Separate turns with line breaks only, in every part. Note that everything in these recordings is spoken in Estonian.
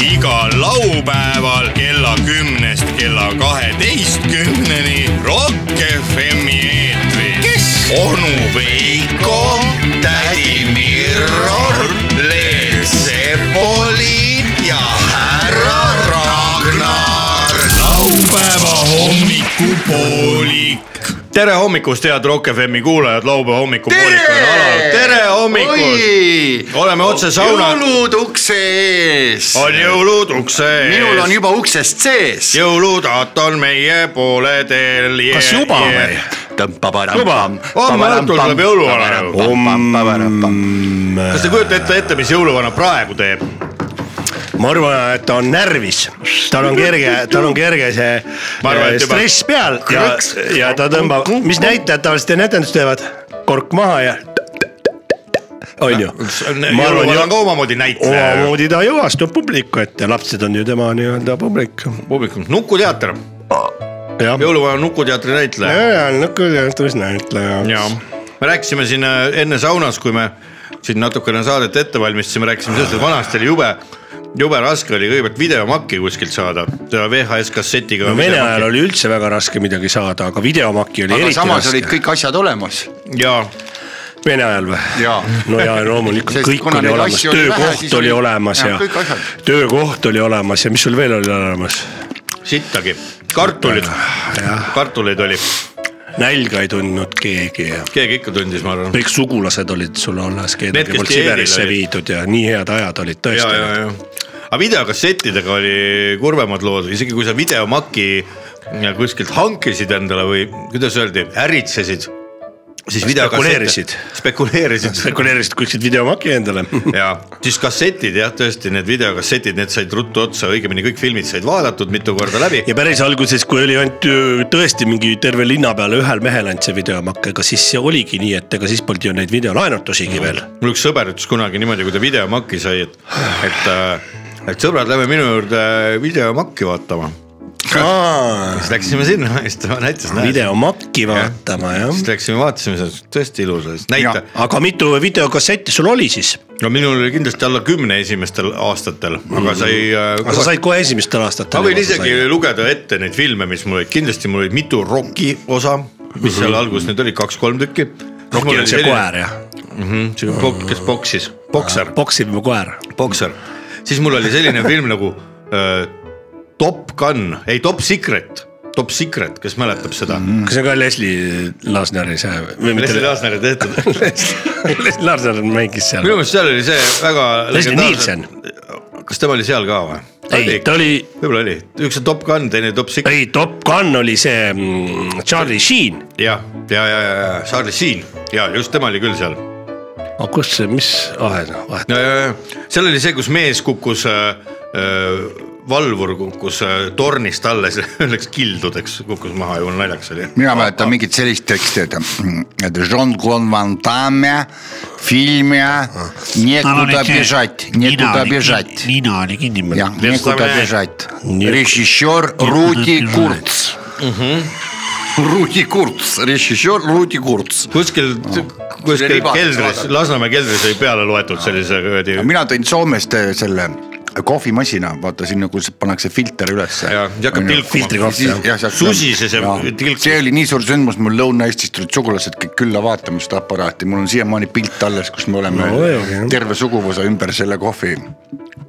igal laupäeval kella kümnest kella kaheteistkümneni Rock FM-i eetris . kes ? onu Veiko , tädi Mirror , Leel Sepoli ja härra Ragnar . laupäeva hommikupoolik . tere hommikust , head Rock FM-i kuulajad , laupäeva hommikupoolik on alanud . tere hommikust ! oleme otse sauna-
jõulud ukse ees .
on jõulud ukse ees .
minul on juba uksest sees .
jõulutat on meie poole teel .
Kas juba või? ?
Juba. Homme õhtul tuleb jõuluvana ju. kas te kujutate ette , mis jõuluvana praegu teeb ?
ma arvan , et ta on närvis , tal on kerge , tal on kerge see
Ma arvan,
eh,
et juba-
stress peal ja , ja ta tõmbab , mis näitajad tavaliselt enne etendust teevad , kork maha ja . on ju ? ma arvan ,
jõuluvana on ka omamoodi näitleja ju .
omamoodi ta jõuastub publiku ette , lapsed on ju tema nii-öelda publik .
publikum , Nukuteater ,
jah ,
jõuluvana on Nukuteatri näitleja .
ja , no küll jah , tõesti näitleja .
ja me rääkisime siin äh, enne saunas , kui me siin natukene saadet ette valmistasime , rääkisime sellest , et vanasti oli jube , jube raske oli kõigepealt videomakki kuskilt saada , seda VHS kassetiga .
no Vene ajal oli üldse väga raske midagi saada , aga videomaki oli
aga
eriti
samas olid
raske .
kõik asjad olemas .
ja
Vene ajal või ?
ja ,
no ja loomulikult
Sest
kõik
kuna
oli
neid
olemas ,
asju oli vähe,
töökoht
siis
oli
oli-
olemas
jah,
ja
kõik asjad.
töökoht oli olemas ja mis sul veel oli olemas ?
sittagi , kartulid , kartuleid oli ,
nälga ei tundnud keegi ja
keegi ikka tundis , ma arvan .
kõik sugulased olid sul alles ,
Need,
kedagi
kes
polnud
dieedil
Siberisse
olid.
viidud ja nii head ajad olid
ja ,
tõesti noh.
ja , ja , aga videokassettidega oli kurvemad lood , isegi kui sa videomaki äh, kuskilt hankisid endale või kuidas öeldi , äritsesid , siis
Spekuleerisid.
videokassetid , spekuleerisid
spekuleerisid , kuskilt videomaki endale .
ja siis kassetid jah , tõesti need videokassetid , need said ruttu otsa , õigemini kõik filmid said vaadatud mitu korda läbi .
ja päris alguses , kui oli ainult ju tõesti mingi terve linna peale ühel mehel ainult see videomakk , ega siis see oligi nii , et ega siis polnud ju neid videolaenutusigi veel .
mul üks sõber ütles kunagi niimoodi , kui ta videomaki sai , et , et , et sõbrad , lähme minu juurde videomakki vaatama . siis läksime sinna , siis ta näitas .
videomakki vaatama jah
siis . läksime vaatasime seda , tõesti ilus oli , näita .
aga mitu videokassetti sul oli siis ?
no minul oli kindlasti alla kümne esimestel aastatel , aga sai
Mm.
äh,
aga sa . said kohe esimestel aastatel .
ma võin isegi lugeda ette neid filme , mis mul olid , kindlasti mul olid mitu Rocki osa , mis seal alguses nüüd oli , kaks-kolm tükki .
Mhm. Rocki on see koer Ah, jah ,
Hmm, see pok- , kes poksis , pokser ,
poksib juba koer .
pokser , siis mul oli selline film nagu äh, Top Gun , ei Top Secret , Top Secret , kes mäletab seda mm ?
kas see on ka Leslie Lasneri see või
-hmm. Leslie
mitte ?
Laasneri tehtud
Leslie Lasner mängis seal
minu . meelest seal oli see väga .
Leslie Nielsen. .
kas tema oli seal ka või ?
ei , ta oli ,
võib-olla oli , üks on Top Gun , teine Top Secret ,
ei Top Gun oli see mm, Charlie Sheen .
jah , ja , ja , ja , ja Charlie Sheen ja just tema oli küll seal .
aga kus see , mis , vahet , vahet .
ja , ja , ja seal oli see , kus mees kukkus äh, , äh, valvur kukkus äh, tornist alla , siis läks kildudeks , kukkus maha ja mul naljakas oli .
mina mäletan mingit sellist teksti , et , et Jean-Claude Van Damme filmi Nekuda bežat , Nekuda bežat .
nina oli kinni
jah ,
mõeldud .
Nekuda
Представляю.
bežat ,
Некуда-
režissöör Rudi Kurts . Rudi Kurts , režissöör Rudi Kurts .
kuskil , kuskil
riba-
keldris , Lasnamäe keldris oli peale loetud sellise kuradi
mina tõin Soomest eh, selle kohvimasina , vaata sinna , kus pannakse filter ülesse .
ja , ja hakkab tilkuma .
filtrikoht jah .
susises ja tilk-
see oli nii suur sündmus , mul Lõuna-Eestist tulid sugulased kõik külla vaatama seda aparaati , mul on siiamaani pilt alles , kus me oleme
No muidugi, jah.
terve suguvõsa ümber selle kohvi ,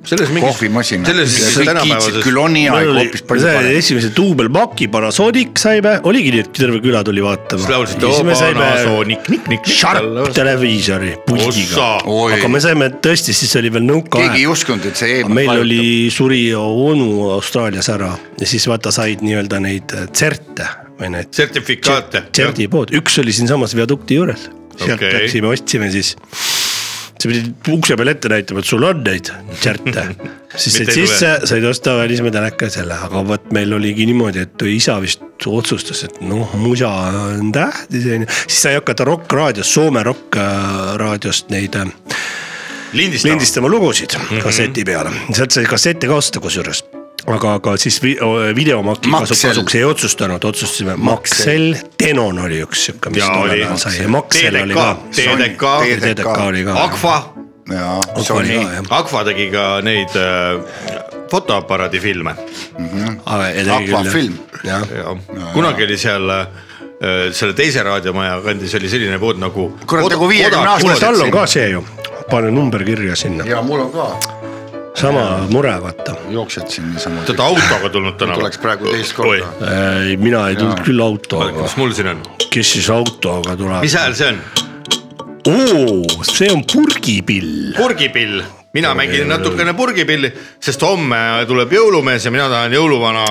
selles mingis ,
kohvimasina .
selles mingis
kõik kiitsid
tänapäevases
küll , on hea ,
meil
aga
oli
hoopis palju
see
parem .
esimese duubelpaki Panasonic saime , oligi nii , et terve küla tuli vaatama .
siis laulsite oo , panasoonik , nikk-nikk .
Sharp televiisori puldiga .
ossa
Oi.
aga me saime tõesti , siis oli veel
keegi ei
nõukaaeg .
uskunud , et see E-
meil
eemale
oli , suri onu Austraalias ära ja siis vaata said nii-öelda neid eh, tserte või neid
sertifikaate .
tserdipood , üks oli siinsamas viadukti juures . sealt
Okei.
okay. läksime , ostsime siis . sa pidid ukse peal ette näitama , et sul on neid tserte . siis said
Mitte ei tule.
sisse , said osta välismaa teleka selle , aga vot meil oligi niimoodi , et isa vist otsustas , et noh , musa on tähtis onju . siis sai hakata Rock Raadios , Soome Rock äh, Raadiost neid äh,
lindistama .
lindistama lugusid mm -hmm. kasseti peale , sealt sai kassette ka osta kusjuures aga , aga siis vi- o- videomaki kasu,
Maxell.
kasuks ei otsustanud , otsustasime Maxell , Denon oli üks sihuke , mis
Jaa,
tollel
oli.
ajal sai ja Maxell oli
TDK
ka .
TDK
TDK oli ka .
Agfa ,
jaa .
see oli ka jah ,
Aqua tegi ka neid äh, fotoaparaadi filme .
aga ja tegi küll, jah.
Aquafilm.
jah ,
kunagi oli seal äh, selle teise raadiomaja kandis oli selline pood nagu .
Kurat, nagu 50 aasta
kuule
Pooled
tal on
sinna.
ka see ju , pane number kirja sinna ,
ja mul on ka ,
sama mure vaata .
jooksed siin niisama .
tead autoga tulnud tänaval .
tuleks praegu teist korda ..
ei , mina ei tulnud küll autoga
kas , mul siin on ,
kes siis autoga tuleb
mis ? hääl see on ?
oo , see on purgipill .
purgipill , mina mängin natukene purgipilli , sest homme tuleb jõulumees ja mina tahan jõuluvana ,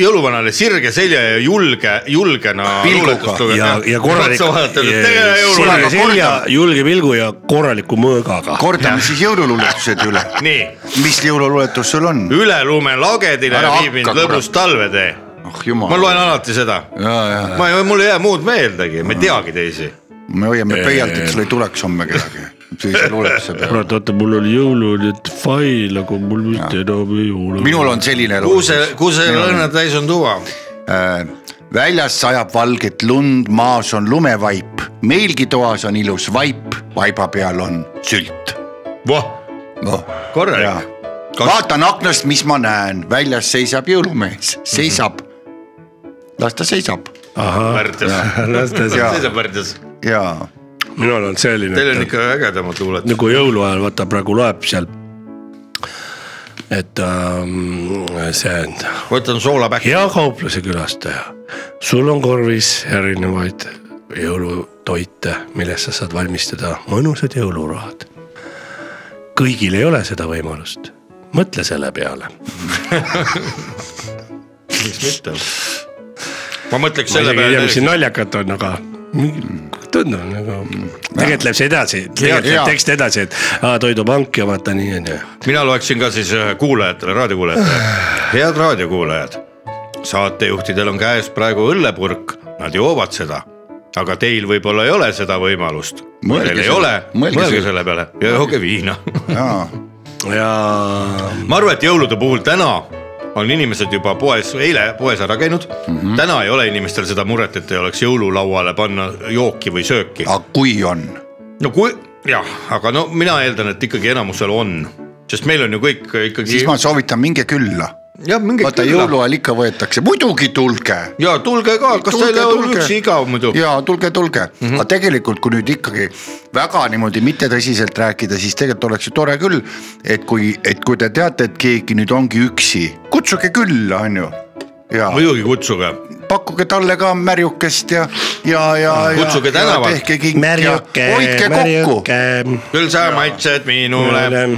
jõuluvanale sirge selja ja julge , julgena .
Pilguga.
ja , ja korralik .
jõuluvana .
selja , julge pilgu ja korraliku mõõgaga .
kordame siis jõululuuletused üle .
nii ,
mis jõululuuletus sul on ?
üle lume lagedile
Ära
viib mind
hakka,
lõbus talvetee .
ah
ma
jumal .
loen alati seda ,
ja , ja ,
ma , mul ei jää muud meeldegi , ma ei teagi teisi .
me hoiame pöialt , et sul ei tuleks homme kedagi . sellise luuletuse peale .
kurat , oota , mul oli jõulul nüüd fail , aga mul mitte enam ei ole .
minul on selline
kuuse
luuletus ,.
kuuse lõhnad täis on tuba .
väljas sajab valget lund , maas on lumevaip , meilgi toas on ilus vaip , vaiba peal on sült .
voh ,
noh , jaa
korralik . Kas-
vaatan aknast , mis ma näen , väljas seisab jõulumees , seisab . las ta seisab
ahah ,
värdjas ,
las ta seal ,
Jaa.
seisab värdjas .
ja
minul on
Teil on
selline ,
ikka ägedamad luuletused .
nagu jõuluajal vaata praegu loeb seal . et ähm, see on
võtan soola pähki .
hea kaupluse külastaja , sul on korvis erinevaid jõulutoite , millest sa saad valmistada mõnusad jõulurahad . kõigil ei ole seda võimalust , mõtle selle peale .
miks mitte ? ma mõtleks
ma
selle
isegi ei tea ,
peale
mis , siin naljakat on , aga mingi- tundub nagu , tegelikult läheb see edasi , tegelikult
jaa.
läheb tekst edasi , et aa, toidupank ja vaata nii on ju .
mina loeksin ka siis äh, kuulajatele , raadiokuulajatele . head raadiokuulajad , saatejuhtidel on käes praegu õllepurk , nad joovad seda , aga teil võib-olla ei ole seda võimalust .
Mõelge
Teil ei
selle-
ole ,
mõelge
mõelge
selle-
selle peale ja jooge viina .
ja
ja
ma arvan , et jõulude puhul täna on inimesed juba poes , eile poes ära käinud mm .
Mhm.
-hmm. täna ei ole inimestel seda muret , et ei oleks jõululauale panna jooki või sööki .
aga kui on ,
no kui jah , aga no mina eeldan , et ikkagi enamusel on , sest meil on ju kõik ikkagi
siis ma . soovitan minge külla .
jah , minge
vaata jõuluajal ikka võetakse , muidugi tulge .
ja tulge ka , kas teil on üksi igav muidu ? Mhm.
ja tulge , tulge mm , -hmm. aga tegelikult , kui nüüd ikkagi väga niimoodi mitte tõsiselt rääkida , siis tegelikult oleks ju tore küll , et kui , et kui te teate , et keegi nüüd ongi üksi , kutsuge külla , on ju ja
muidugi kutsuge ,
pakkuge talle ka märjukest ja , ja , ja .
Kutsuge tänavalt.
tehke kink ja hoidke kokku .
küll sa maitsed minule .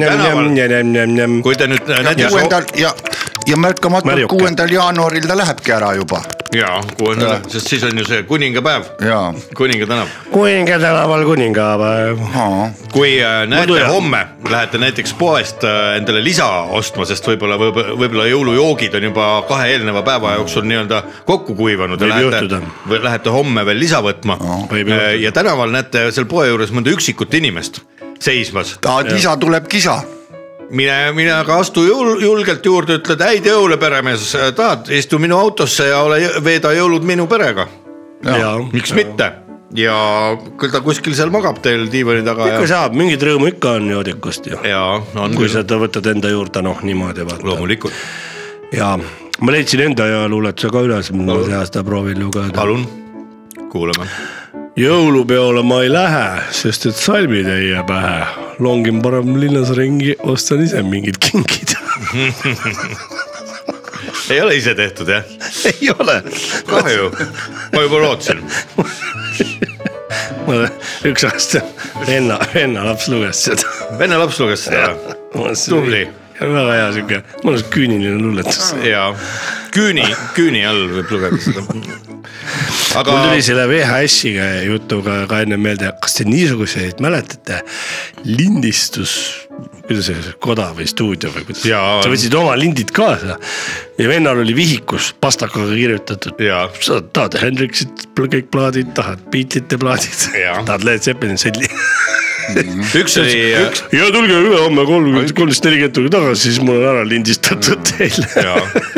kokku .
kui te nüüd äh, näiteks ,
kuuendal ja , ja märkamatult
Märjuke.
kuuendal jaanuaril ta lähebki ära juba
jaa , kuuendal , sest siis on ju see kuningapäev ,
ja .
kuninga tänav .
kuninga tänaval kuningapäev .
kui äh, näete
Muidu jah.
homme , lähete näiteks poest äh, endale lisa ostma , sest võib-olla , võib-olla jõulujoogid on juba kahe eelneva päeva jooksul nii-öelda kokku kuivanud .
Võib
Lähete,
juhtuda.
või lähete homme veel lisa võtma
Võib
Eh,
juhtuda.
ja tänaval näete seal poe juures mõnda üksikut inimest seismas .
tahad lisa , tuleb kisa .
mine , mine aga astu jul, julgelt juurde , ütled häid jõule , peremees , tahad , istu minu autosse ja ole , veeda jõulud minu perega .
jaa .
miks mitte ja küll ta kuskil seal magab teil diivani taga
ikka
ja ,
saab , mingit rõõmu ikka on joodikust ju .
ja on
kui
küll ,
sa ta võtad enda juurde , noh niimoodi vaata .
loomulikult ,
jaa , ma leidsin enda hea luuletuse ka üles , ma see aasta proovin lugeda .
palun , kuulame .
jõulupeole ma ei lähe , sest et salmid ei jää pähe . longin parem linnas ringi , ostan ise mingid kingid .
ei ole ise tehtud jah ?
ei ole .
kahju , ma juba lootsin .
ma üks aasta venna , venna laps luges seda .
vene laps luges seda ära . Tubli. .
väga hea siuke , mõnus küüniline luuletus .
ja küüni , küüni all võib lugeda seda . aga
mul tuli selle VHS-iga jutuga ka enne meelde , kas te niisuguseid mäletate , lindistus , kuidas see , koda või stuudio või kuidas
Jaa. ,
sa võtsid oma lindid kaasa ja vennal oli vihikus pastakaga kirjutatud .
Jaa.
sa tahad Hendriksit pl- kõik plaadid , tahad Beatlesite plaadid ,
Jaa.
tahad Led Zeppelin , see oli .
üks oli ,
ja tulge ülehomme kolmkümmend , kolmteist nelikümmend tulge tagasi , siis mul on ära lindistatud teile .
Mm. jaa ,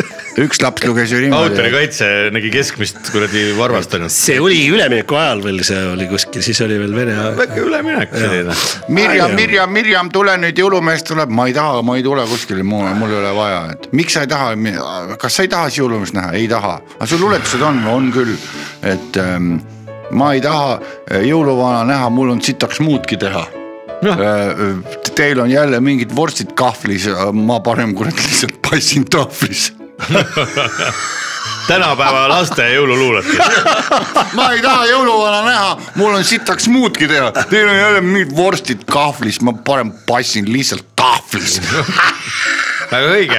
üks laps luges ju niimoodi .
autorikaitse Noh, nägi keskmist kuradi varvast ainult .
see oli ülemineku ajal veel , see oli kuskil , siis oli veel Vene aeg .
väike üleminek selline .
Mirjam , Mirjam , Mirjam , tule nüüd , jõulumees tuleb , ma ei taha , ma ei tule kuskile , mul , mul ei ole vaja , et miks sa ei taha , kas sa ei taha siis jõulumeest näha , ei taha . aga sul uletused on , on küll , et ähm, ma ei taha jõuluvana näha , mul on sitaks muudki teha . Teil on jälle mingid vorstid kahvlis , ma parem kurat lihtsalt passin tahvlis .
tänapäeva laste jõululuuletus .
ma ei taha jõuluvana näha , mul on sitaks muudki teha , teil on jälle mingid vorstid kahvlis , ma parem passin lihtsalt tahvlis .
väga õige .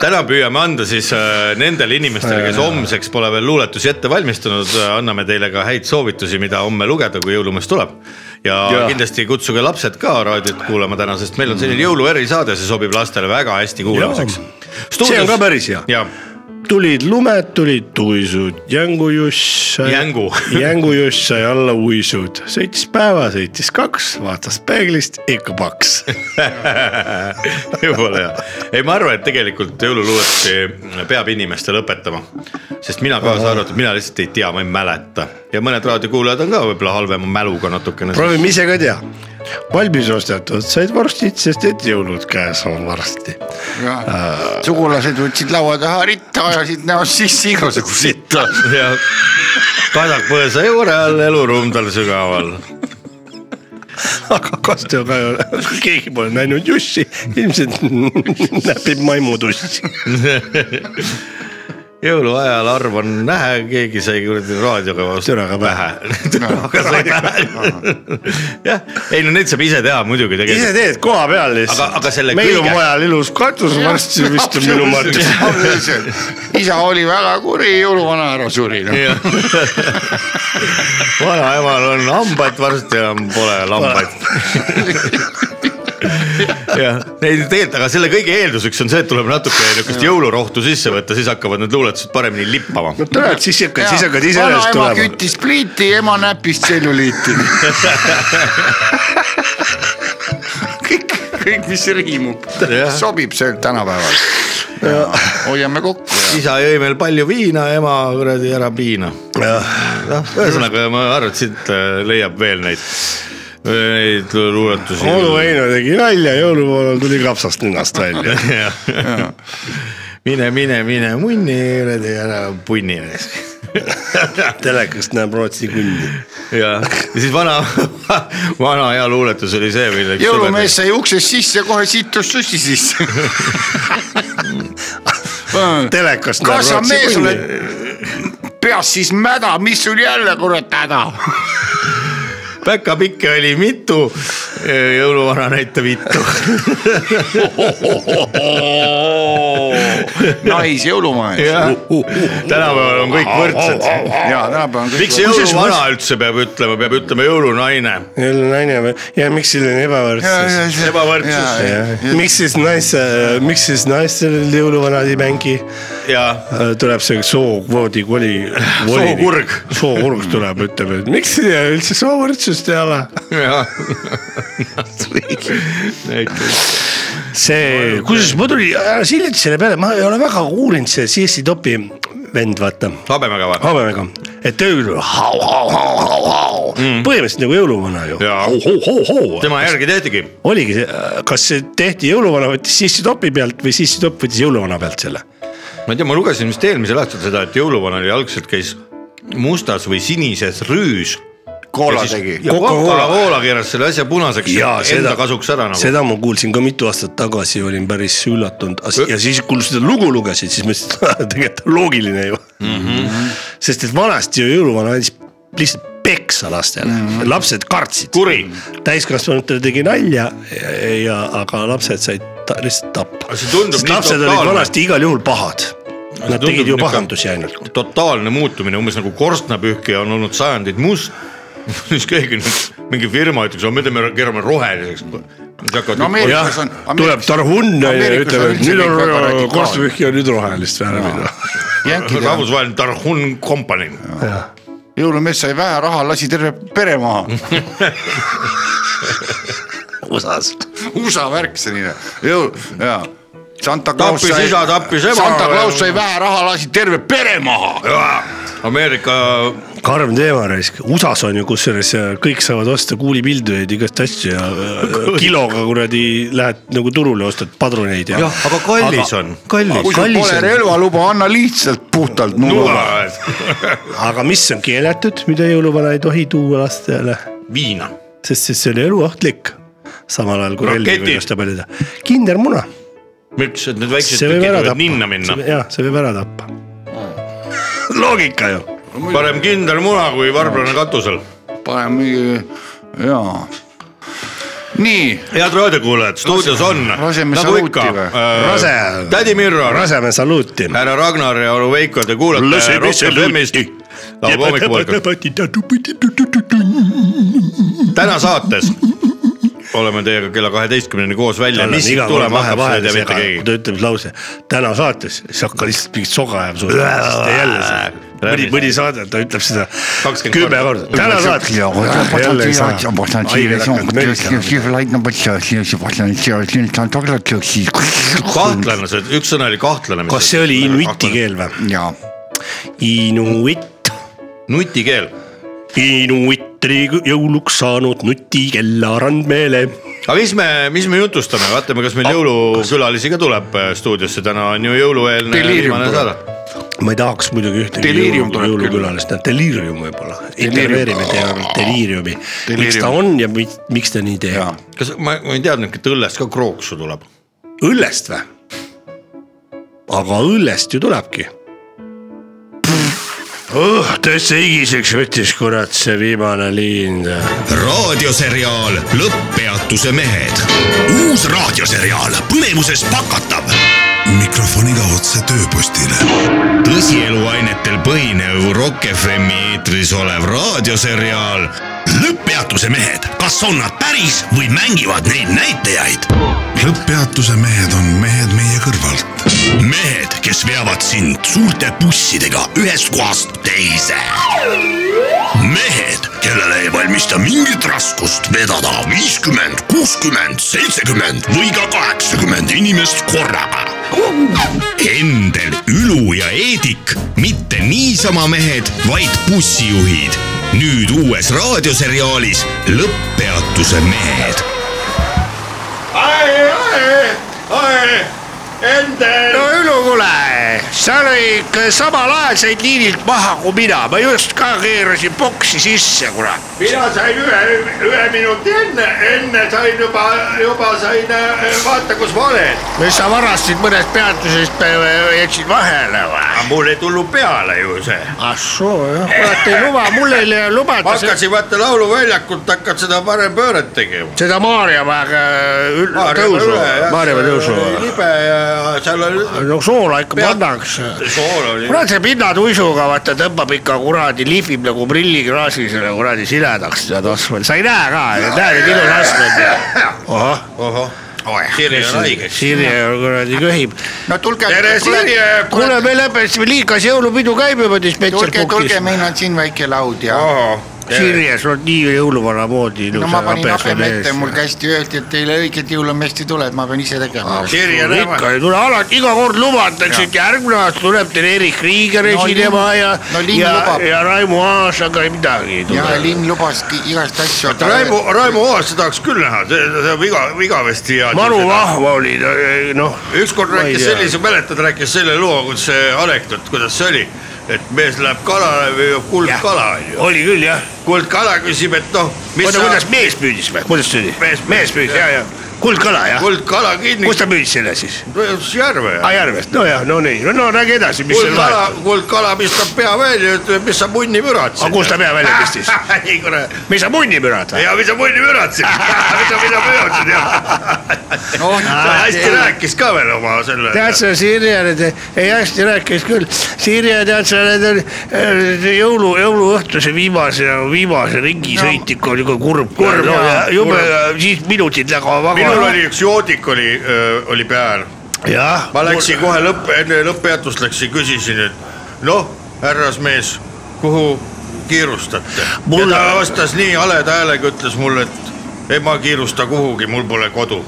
täna püüame anda siis äh, nendele inimestele , kes homseks pole veel luuletusi ette valmistunud , anname teile ka häid soovitusi , mida homme lugeda , kui jõulumees tuleb . ja, ja.
Jah.
kindlasti kutsuge lapsed ka raadiot kuulama täna , sest meil on selline jõuluerisaade , see sobib lastele väga hästi kuulamiseks .
see on ka päris hea .
ja
tulid lumed , tulid tuisud , jängujuss .
Jängu.
jängujuss sai alla uisud , sõitis päeva , sõitis kaks , vaatas peeglist , ikka paks .
jumala hea , ei , ma arvan , et tegelikult jõululuuletusi peab inimestele õpetama . sest mina kaasa arvatud , mina lihtsalt ei tea , ma ei mäleta ja mõned raadiokuulajad on ka võib-olla halvema mäluga natukene .
proovime ise ka teha . valmis ostetud , said vorstid , sest et jõulud käes on varsti .
sugulased võtsid laua taha ritta , ajasid näost sisse igasugu sitta .
ja kadak põõsa juure all , eluruum tal sügaval .
aga kaste ka ei ole , keegi pole näinud Jussi , ilmselt näpib maimutussi .
jõuluajal arv on nähe , keegi sai kuradi raadioga vastu
Türaga pähe. .
türaga sai pähe . jah , ei no neid saab ise teha muidugi
ise
tegelikult .
teed koha peal lihtsalt .
Aga- aga selle
meil on
kõige-
majal ilus katus varsti vist on minu mõttes .
isa oli väga kuri , jõuluvana ära suri noh. no. .
vanaemal on hambad , varsti enam pole lambaid . jah , ei tegelikult , aga selle kõige eelduseks on see , et tuleb natuke niisugust jõulurohtu sisse võtta , siis hakkavad need luuletused paremini lippama .
no tõenäoliselt siis hakkad , siis hakkad ise üles
tulema .
tulema .
küttis pliiti , ema näpis tselluliiti . kõik , kõik , mis riimub ,
Jah.
sobib see tänapäeval . hoiame kokku ja
isa jõi meil palju viina , ema kuradi ära piina . noh , ühesõnaga ma arvan , et siit äh, leiab veel neid , neid luuletusi .
onu Heino tegi nalja , jõulupoolel tuli kapsast ninast välja .
Jah. mine , mine , mine munni kuradi ära punni ees
telekast näeb Rootsi kunni .
ja siis vana , vana hea luuletus oli see , milleks .
jõulumees . sai uksest sisse , kohe situs sussi sisse .
telekast näeb
kas sa mees
Rootsi
oled
kunni .
peas siis mäda , mis sul jälle kurat häda on ?
päkapikke oli mitu , jõuluvana näitab vittu .
naisjõulumajas .
tänapäeval on kõik võrdsed .
ja tänapäeval on
miks
kõik .
jõuluvana üldse peab ütlema , peab ütlema jõulunaine ?
jälle naine või , ja miks selline ebavõrdsus ?
Ebavõrdsus.
miks siis naise , miks siis naistel jõuluvanad ei mängi ?
ja
tuleb see sookvoodi koli .
Sookurg. .
sookurg tuleb , ütleb , et miks siia üldse soovõrdsust ei ole
jah . näiteks .
see , kusjuures ma tulin , ära sa hiljuti selle peale , ma ei ole väga uurinud see CSI Topi vend , vaata ,
habemega või ?
habemega , et tööl hau-hau-hau-hau-hau mm. , põhimõtteliselt nagu jõuluvana ju .
Jaa.
hau-hau-hau-hau ,
tema järgi tehtigi .
oligi see , kas see tehti jõuluvana võttis CSI Topi pealt või CSI Top võttis jõuluvana pealt selle ?
ma ei tea , ma lugesin vist eelmisel aastal seda , et jõuluvana oli algselt käis mustas või sinises rüüs .
koola tegi .
ja Coca-Cola Cola keeras selle asja punaseks ja enda kasuks ära nagu .
seda ma kuulsin ka mitu aastat tagasi , olin päris üllatunud As- ja siis , kui seda lugu lugesid , siis mõtlesin , et tegelikult on loogiline ju mm .
Mhm.
-hmm. sest et vanasti ju jõuluvana andis lihtsalt peksa lastele mm , -hmm. lapsed kartsid .
Mhm. kuri .
täiskasvanutele tegi nalja ja, ja , aga lapsed said ta, lihtsalt tappa
Aga see tundub . nii
lapsed olid
totaalne.
vanasti igal juhul pahad . Nad
tundub
tegid ju
nihuke-
pahandusi ainult .
totaalne muutumine , umbes nagu korstnapühkija on olnud sajandeid must . siis keegi nüüd , mingi firma ütleks , me teeme , keerame roheliseks .
no
hakkavad
jah
Ameerikas on ,,
tuleb tarhunn ja
Ameerikas
ütleb ,
on
et
üldse
nüüd
kõik väga
on
radikaalne.
korstnapühk ja nüüd rohelist noh. värvi .
jänkida .
rahvusvaheline Tarhun kompanii .
jõulumees sai vähe raha , lasi terve pere maha .
USA-s
USA värk selline , jõul , jaa . Santa Claus
tappis isa , tappis ema .
Santa Claus sai vähe raha , lasi terve pere maha .
Ameerika
karm teema raisk , USA-s on ju kusjuures äh, kõik saavad osta kuulipildujaid , igast asju ja äh, kiloga kuradi lähed nagu turule , ostad padruneid ja .
Jah, aga kallis on, kallis.
kui sul pole relvaluba , anna lihtsalt puhtalt nuga .
nuga ,
aga mis on keelatud , mida jõuluvana ei tohi tuua lastele ,
viina .
sest siis see oli eluohtlik . samal ajal kui relvi
Raketid.
võib lasta palju teha . kindermuna ,
miks , et need väiksed
see võib
tükid
ära
võivad ninna
tappa
minna .,
jah , see võib ära tappa . Ah. loogika ju ,
parem kindel muna kui varblane katusel .
pane mingi , jaa . nii ,
head raadiokuulajad , stuudios on
laseme
nagu
saluti
ikka
või?
äh,
Rase.
tädi Mirro ,
Rasemäe saluuti .
härra Ragnar ja onu Veiko , te kuulate
Laseme
Rock
saluti.
FM-ist . laupäeva hommikupoolikud , täna saates oleme teiega kella kaheteistkümneni koos välja , mis siit tulema hakkab , seda ei tea mitte
kui ta
keegi .
ütleb lause täna saates , siis hakka lihtsalt mingit soga ajama sulle , siis ta jälle see , mõni , mõni saade , ta ütleb seda
20
kümme
korda.
korda , täna saates . jälle ei saa , haiged hakkavad mölisema .
kahtlanlased , üks sõna oli kahtlane .
kas see oli inuiti ? keel või ?
jaa ,
Inuit ,
nutikeel
inuitri jõuluks saanud nutikella randmeele .
aga mis me , mis me jutustame , vaatame , kas meil
Ah.
jõulukülalisi ka tuleb äh, stuudiosse , täna on ju jõulueelne
Delirium
viimane
tuleb.
saade .
ma ei tahaks muidugi ühtegi
Delirium
jõulu-
tuleb küll.
jõulukülalist , deliirium võib-olla , intervjueerime teie deliiriumi , miks ta
Delirium.
on ja mi- miks ta nii teeb
jaa .
kas ma , ma ei teadnudki , et õllest ka krooksu tuleb .
õllest või ? aga õllest ju tulebki . Oh, täitsa higiseks võttis kurat see viimane liin .
raadioseriaal Lõpppeatuse mehed . uus raadioseriaal põnevuses pakatav . mikrofoniga otse tööpostile . tõsieluainetel põhinev Rock FM-i eetris olev raadioseriaal Lõpppeatuse mehed , kas on nad päris või mängivad neid näitajaid ? lõpppeatuse mehed on mehed meie kõrvalt . mehed , kes veavad sind suurte bussidega ühest kohast teise mehed , kellele ei valmista mingit raskust vedada viiskümmend , kuuskümmend , seitsekümmend või ka kaheksakümmend inimest korraga . Endel , Ülu ja Eedik , mitte niisama mehed , vaid bussijuhid . nüüd uues raadioseriaalis Lõpppeatuse mehed .
no Ülu , kuule , sa lõid samalaadseid liinilt maha kui mina , ma just ka keerasin boksi sisse , kurat .
mina sain ühe , ühe minuti enne , enne sain juba , juba sain , vaata kus ma olen .
sa varastasid mõnest peatusest , jätsid vahele või ?
mul ei tulnud peale ju see .
ah soo , jah , kurat ei luba , mul ei lubata
ma hakkasin vaata lauluväljakult hakkad seda parem pööret tegema .
seda Maarjamäega ül- tõusu , Maarjamäe tõusu .
Äh, libe ja seal oli
no soola ikka
Pead-
pannakse .
sool oli .
kurat see pinnatuisuga vaata tõmbab ikka kuradi , lihvib nagu prilliklaasi selle kuradi siledaks tead Osman , sa ei näe ka , näe neid ilusaid asju .
ohoh , Sirje on haige .
Sirje kuradi köhib .
no tulge ,
tere Sirje ,
kuule ,
kuule me lõpetasime liigas jõulupidu käib juba
tulge ,
dispetšerpunktis
tulge ,. meil on siin väike laud ja
Sirje , sul on nii jõuluvana moodi
no
ilusa
ma panin habeme ette , mul kästi öeldi , et teile õiget jõulumest ei tule , et ma pean ise tegema .
Sirje näeme .
ikka ei tule , alati iga kord lubatakse , et järgmine aasta tuleb teil Erich Krieger
No
esinema
linn-
ja
no , linn
ja ,
lubab.
ja Raimo Aas , aga ei midagi ei
ja
tule .
linn lubas ki- igast asju .
Raivo , Raivo Oas , seda tahaks küll näha , see , see on iga , igavesti hea .
maru vahva oli , noh ,
ükskord
ei
rääkis
tea.
sellise , mäletad , rääkis selle loo , kus see anekdoot , kuidas see oli , et mees läheb kalale , püüab kuldkala onju .
oli küll jah .
kuldkala küsib , et noh , mis
oota , kuidas
sa
mees püüdis või , kuidas see oli ?
Mees püüdis,
mees püüdis ja , ja kuldkala jah .
kuldkala kinni
kus , ta püüdis selle siis ?
püüdis järve .
aa , järvest , no jah , no nii , no räägi edasi , mis seal
kuldkala
vahet ,.
kuldkala pistab pea välja , ütleb , mis sa munni müratsid .
aga kus ta pea välja pistis ?
ei kurat ,
mis sa munni pürad või ?
ja mis sa munni müratsid , mis sa , mis sa müratsid ja . ta hästi rääkis ka veel oma selle .
Ah, tead sa , Sirje nüüd , ei hästi rääkis küll , Sirje tead sa , need on äh, see jõulu , jõuluõhtu see viimase , viimase ringi no. sõitik on ikka kurb , kurb no, ja jube , siis minutid lähevad
minul . oli üks joodik oli , oli peal
jah ,
ma läksin kohe lõpp , enne lõpppeatust läksin , küsisin , et noh , härrasmees , kuhu kiirustate mul... ?
Mul-
ja ta vastas nii haleda häälega , ütles mulle , et ei ma ei kiirusta kuhugi , mul pole kodu .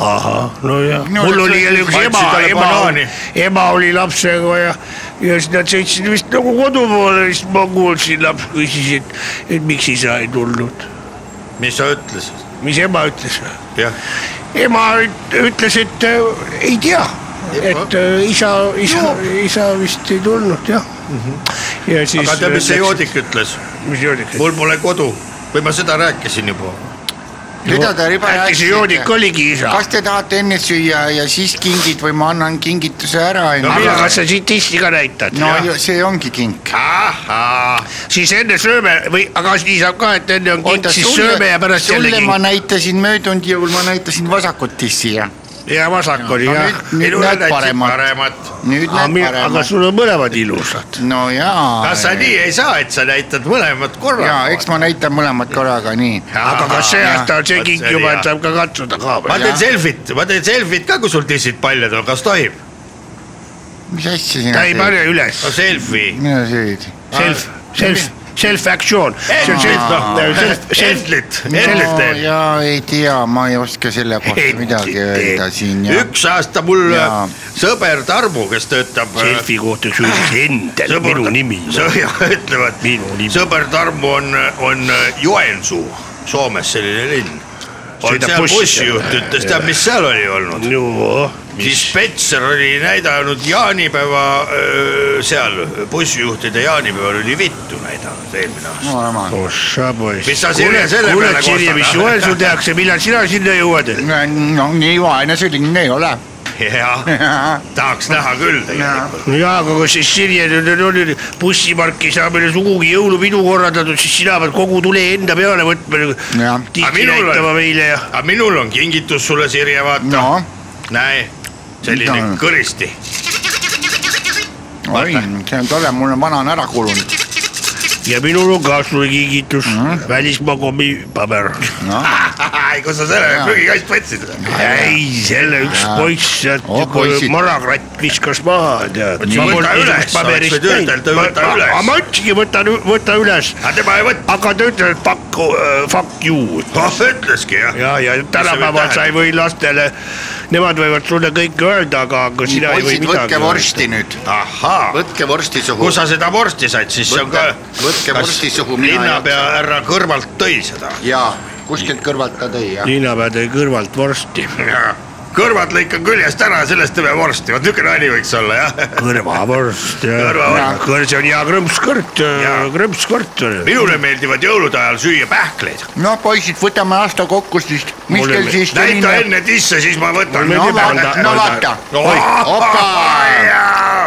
ahah , no ja
No,
mul
see-
oli jälle üks
andsid
ema ,
talle
ema
banaani. ,
ema oli lapsega ja , ja siis nad sõitsid vist nagu kodu poole , siis ma kuulsin , laps küsis , et , et miks isa ei tulnud .
mis sa ütlesid ?
mis ema ütles ?
jah ,
ema üt- ütles , et äh, ei tea , et äh, isa , isa , isa vist ei tulnud jah mm .
Mhm.
-hmm. ja siis .
aga tead , mis see ? joodik ütles ?
mis joodik ?
mul pole kodu või ma seda rääkisin juba .
mida te riba
äkki see joodik
rääkisite ?
oligi isa ?
kas te tahate enne süüa ja siis kingid või ma annan kingituse ära
aga
onju ?
kas sa siit isti ka näitad ?
no ju- see ongi kink .
siis enne sööme või , aga nii saab ka , et enne on kink , siis sööme ja pärast
sulle
jälle
ma
kink
näitasin möödunud jõul , ma näitasin vasakut tissi ja
ja vasak oli
No
jah
nüüd- . nüüd näed paremat. nüüd
aga,
näed
mi- aga
paremat .
sul on mõlemad ilusad .
no jaa .
kas sa nii ei saa , et sa näitad mõlemat
jaa ,
korraga ?
eks ma näitan mõlemat korraga , nii .
aga kas see aasta on see
vot
kink
see oli
juba ,
hea.
et saab ka katsuda ka
ma
või ?
teen selfit , ma teen selfit ka , kui sul tissid paljad on , kas tohib ?
mis asja sina
ta ei
teed ?
pane üles
no , selfie .
mida sa teed ?
self ,
Ah.
self , self action , see on self , self , self ,
Endlit , Endlit
no
teen .
jaa , ei tea , ma ei oska selle kohta
Endlit
midagi
teed.
öelda siin ja .
üks aasta mul
Jaa.
sõber Tarmo , kes töötab .
selfie kohta üks üldse endel ,
Sõbrad-
minu nimi .
ütlevad ,
Minu nimi.
sõber Tarmo on , on äh, Joensuu , Soomes selline linn . on
Sõidab
seal
bussi
bussijuht ,
seal.
ütles , tead , mis seal oli olnud .
no ,
siis Spetser oli näidanud jaanipäeva öö, seal , bussijuhtide jaanipäeval oli vittu näidanud eelmine aasta .
ossa poiss .
Mis sa, Sirje, selle
kuule
peale , kostad?
Sirje ,
ah?
mis joel sul tehakse , millal sina sinna jõuad ?
no nii vaene see linn ei ole .
jah , tahaks näha küll tegelikult .
no jaa , aga kas siis Sirje nüüd on- on nüüd bussipark ei saa meile sugugi jõulupidu korraldatud , siis sina pead kogu tule enda peale võtma .
Jah.
Aga
tihti
minul on-
näitama meile ja .
aga minul on kingitus sulle , Sirje , vaata no. ,
noh ,
näe , selline no.
Mida?
kõristi .
oi , see on tore , mul on vana on ära kulunud .
ja minul on ka sulle kingitus mm
Mhm.
-hmm. , välismaa kommipaber .
ahah , kus sa selle prügikast võtsid ?
ei , selle üks poiss sealt
Oh, poisid.
marakratt viskas maha , tead .
Võta üles, oleks võinud ütelda, võta üles.
ma ütlesingi , võta , võta üles ,
aga tema ei võtnud ,
aga ta ütles fuck , fuck you
ütleski jah .
ja , ja tänapäeval sa ei või lastele , nemad võivad sulle kõike öelda , aga , aga sina ei või
poisid ,
midagi
võtke
öelda .
vorsti nüüd ,
ahhaa ,
võtke vorsti suhu
kus . sa seda vorsti said , siis see on ka .
Võtke- võtke vorsti suhu, mina ei
linnapea härra kõrvalt tõi seda .
jaa , kuskilt kõrvalt ta tõi jah .
linnapea tõi kõrvalt vorsti ,
kõrvad lõikan küljest ära , sellest teeme vorsti , vot niisugune nali võiks olla jah .
kõrvavorst ja
Kõrvavorst.
kõr- , see on hea krõmpskõrt , krõmpskõrt .
minule meeldivad jõulude ajal süüa pähkleid .
no poisid , võtame aasta kokku siis , mis
Mul
teil
ei-
siis
näita enne tisse , siis ma võtan .
no vaata , no vaata ,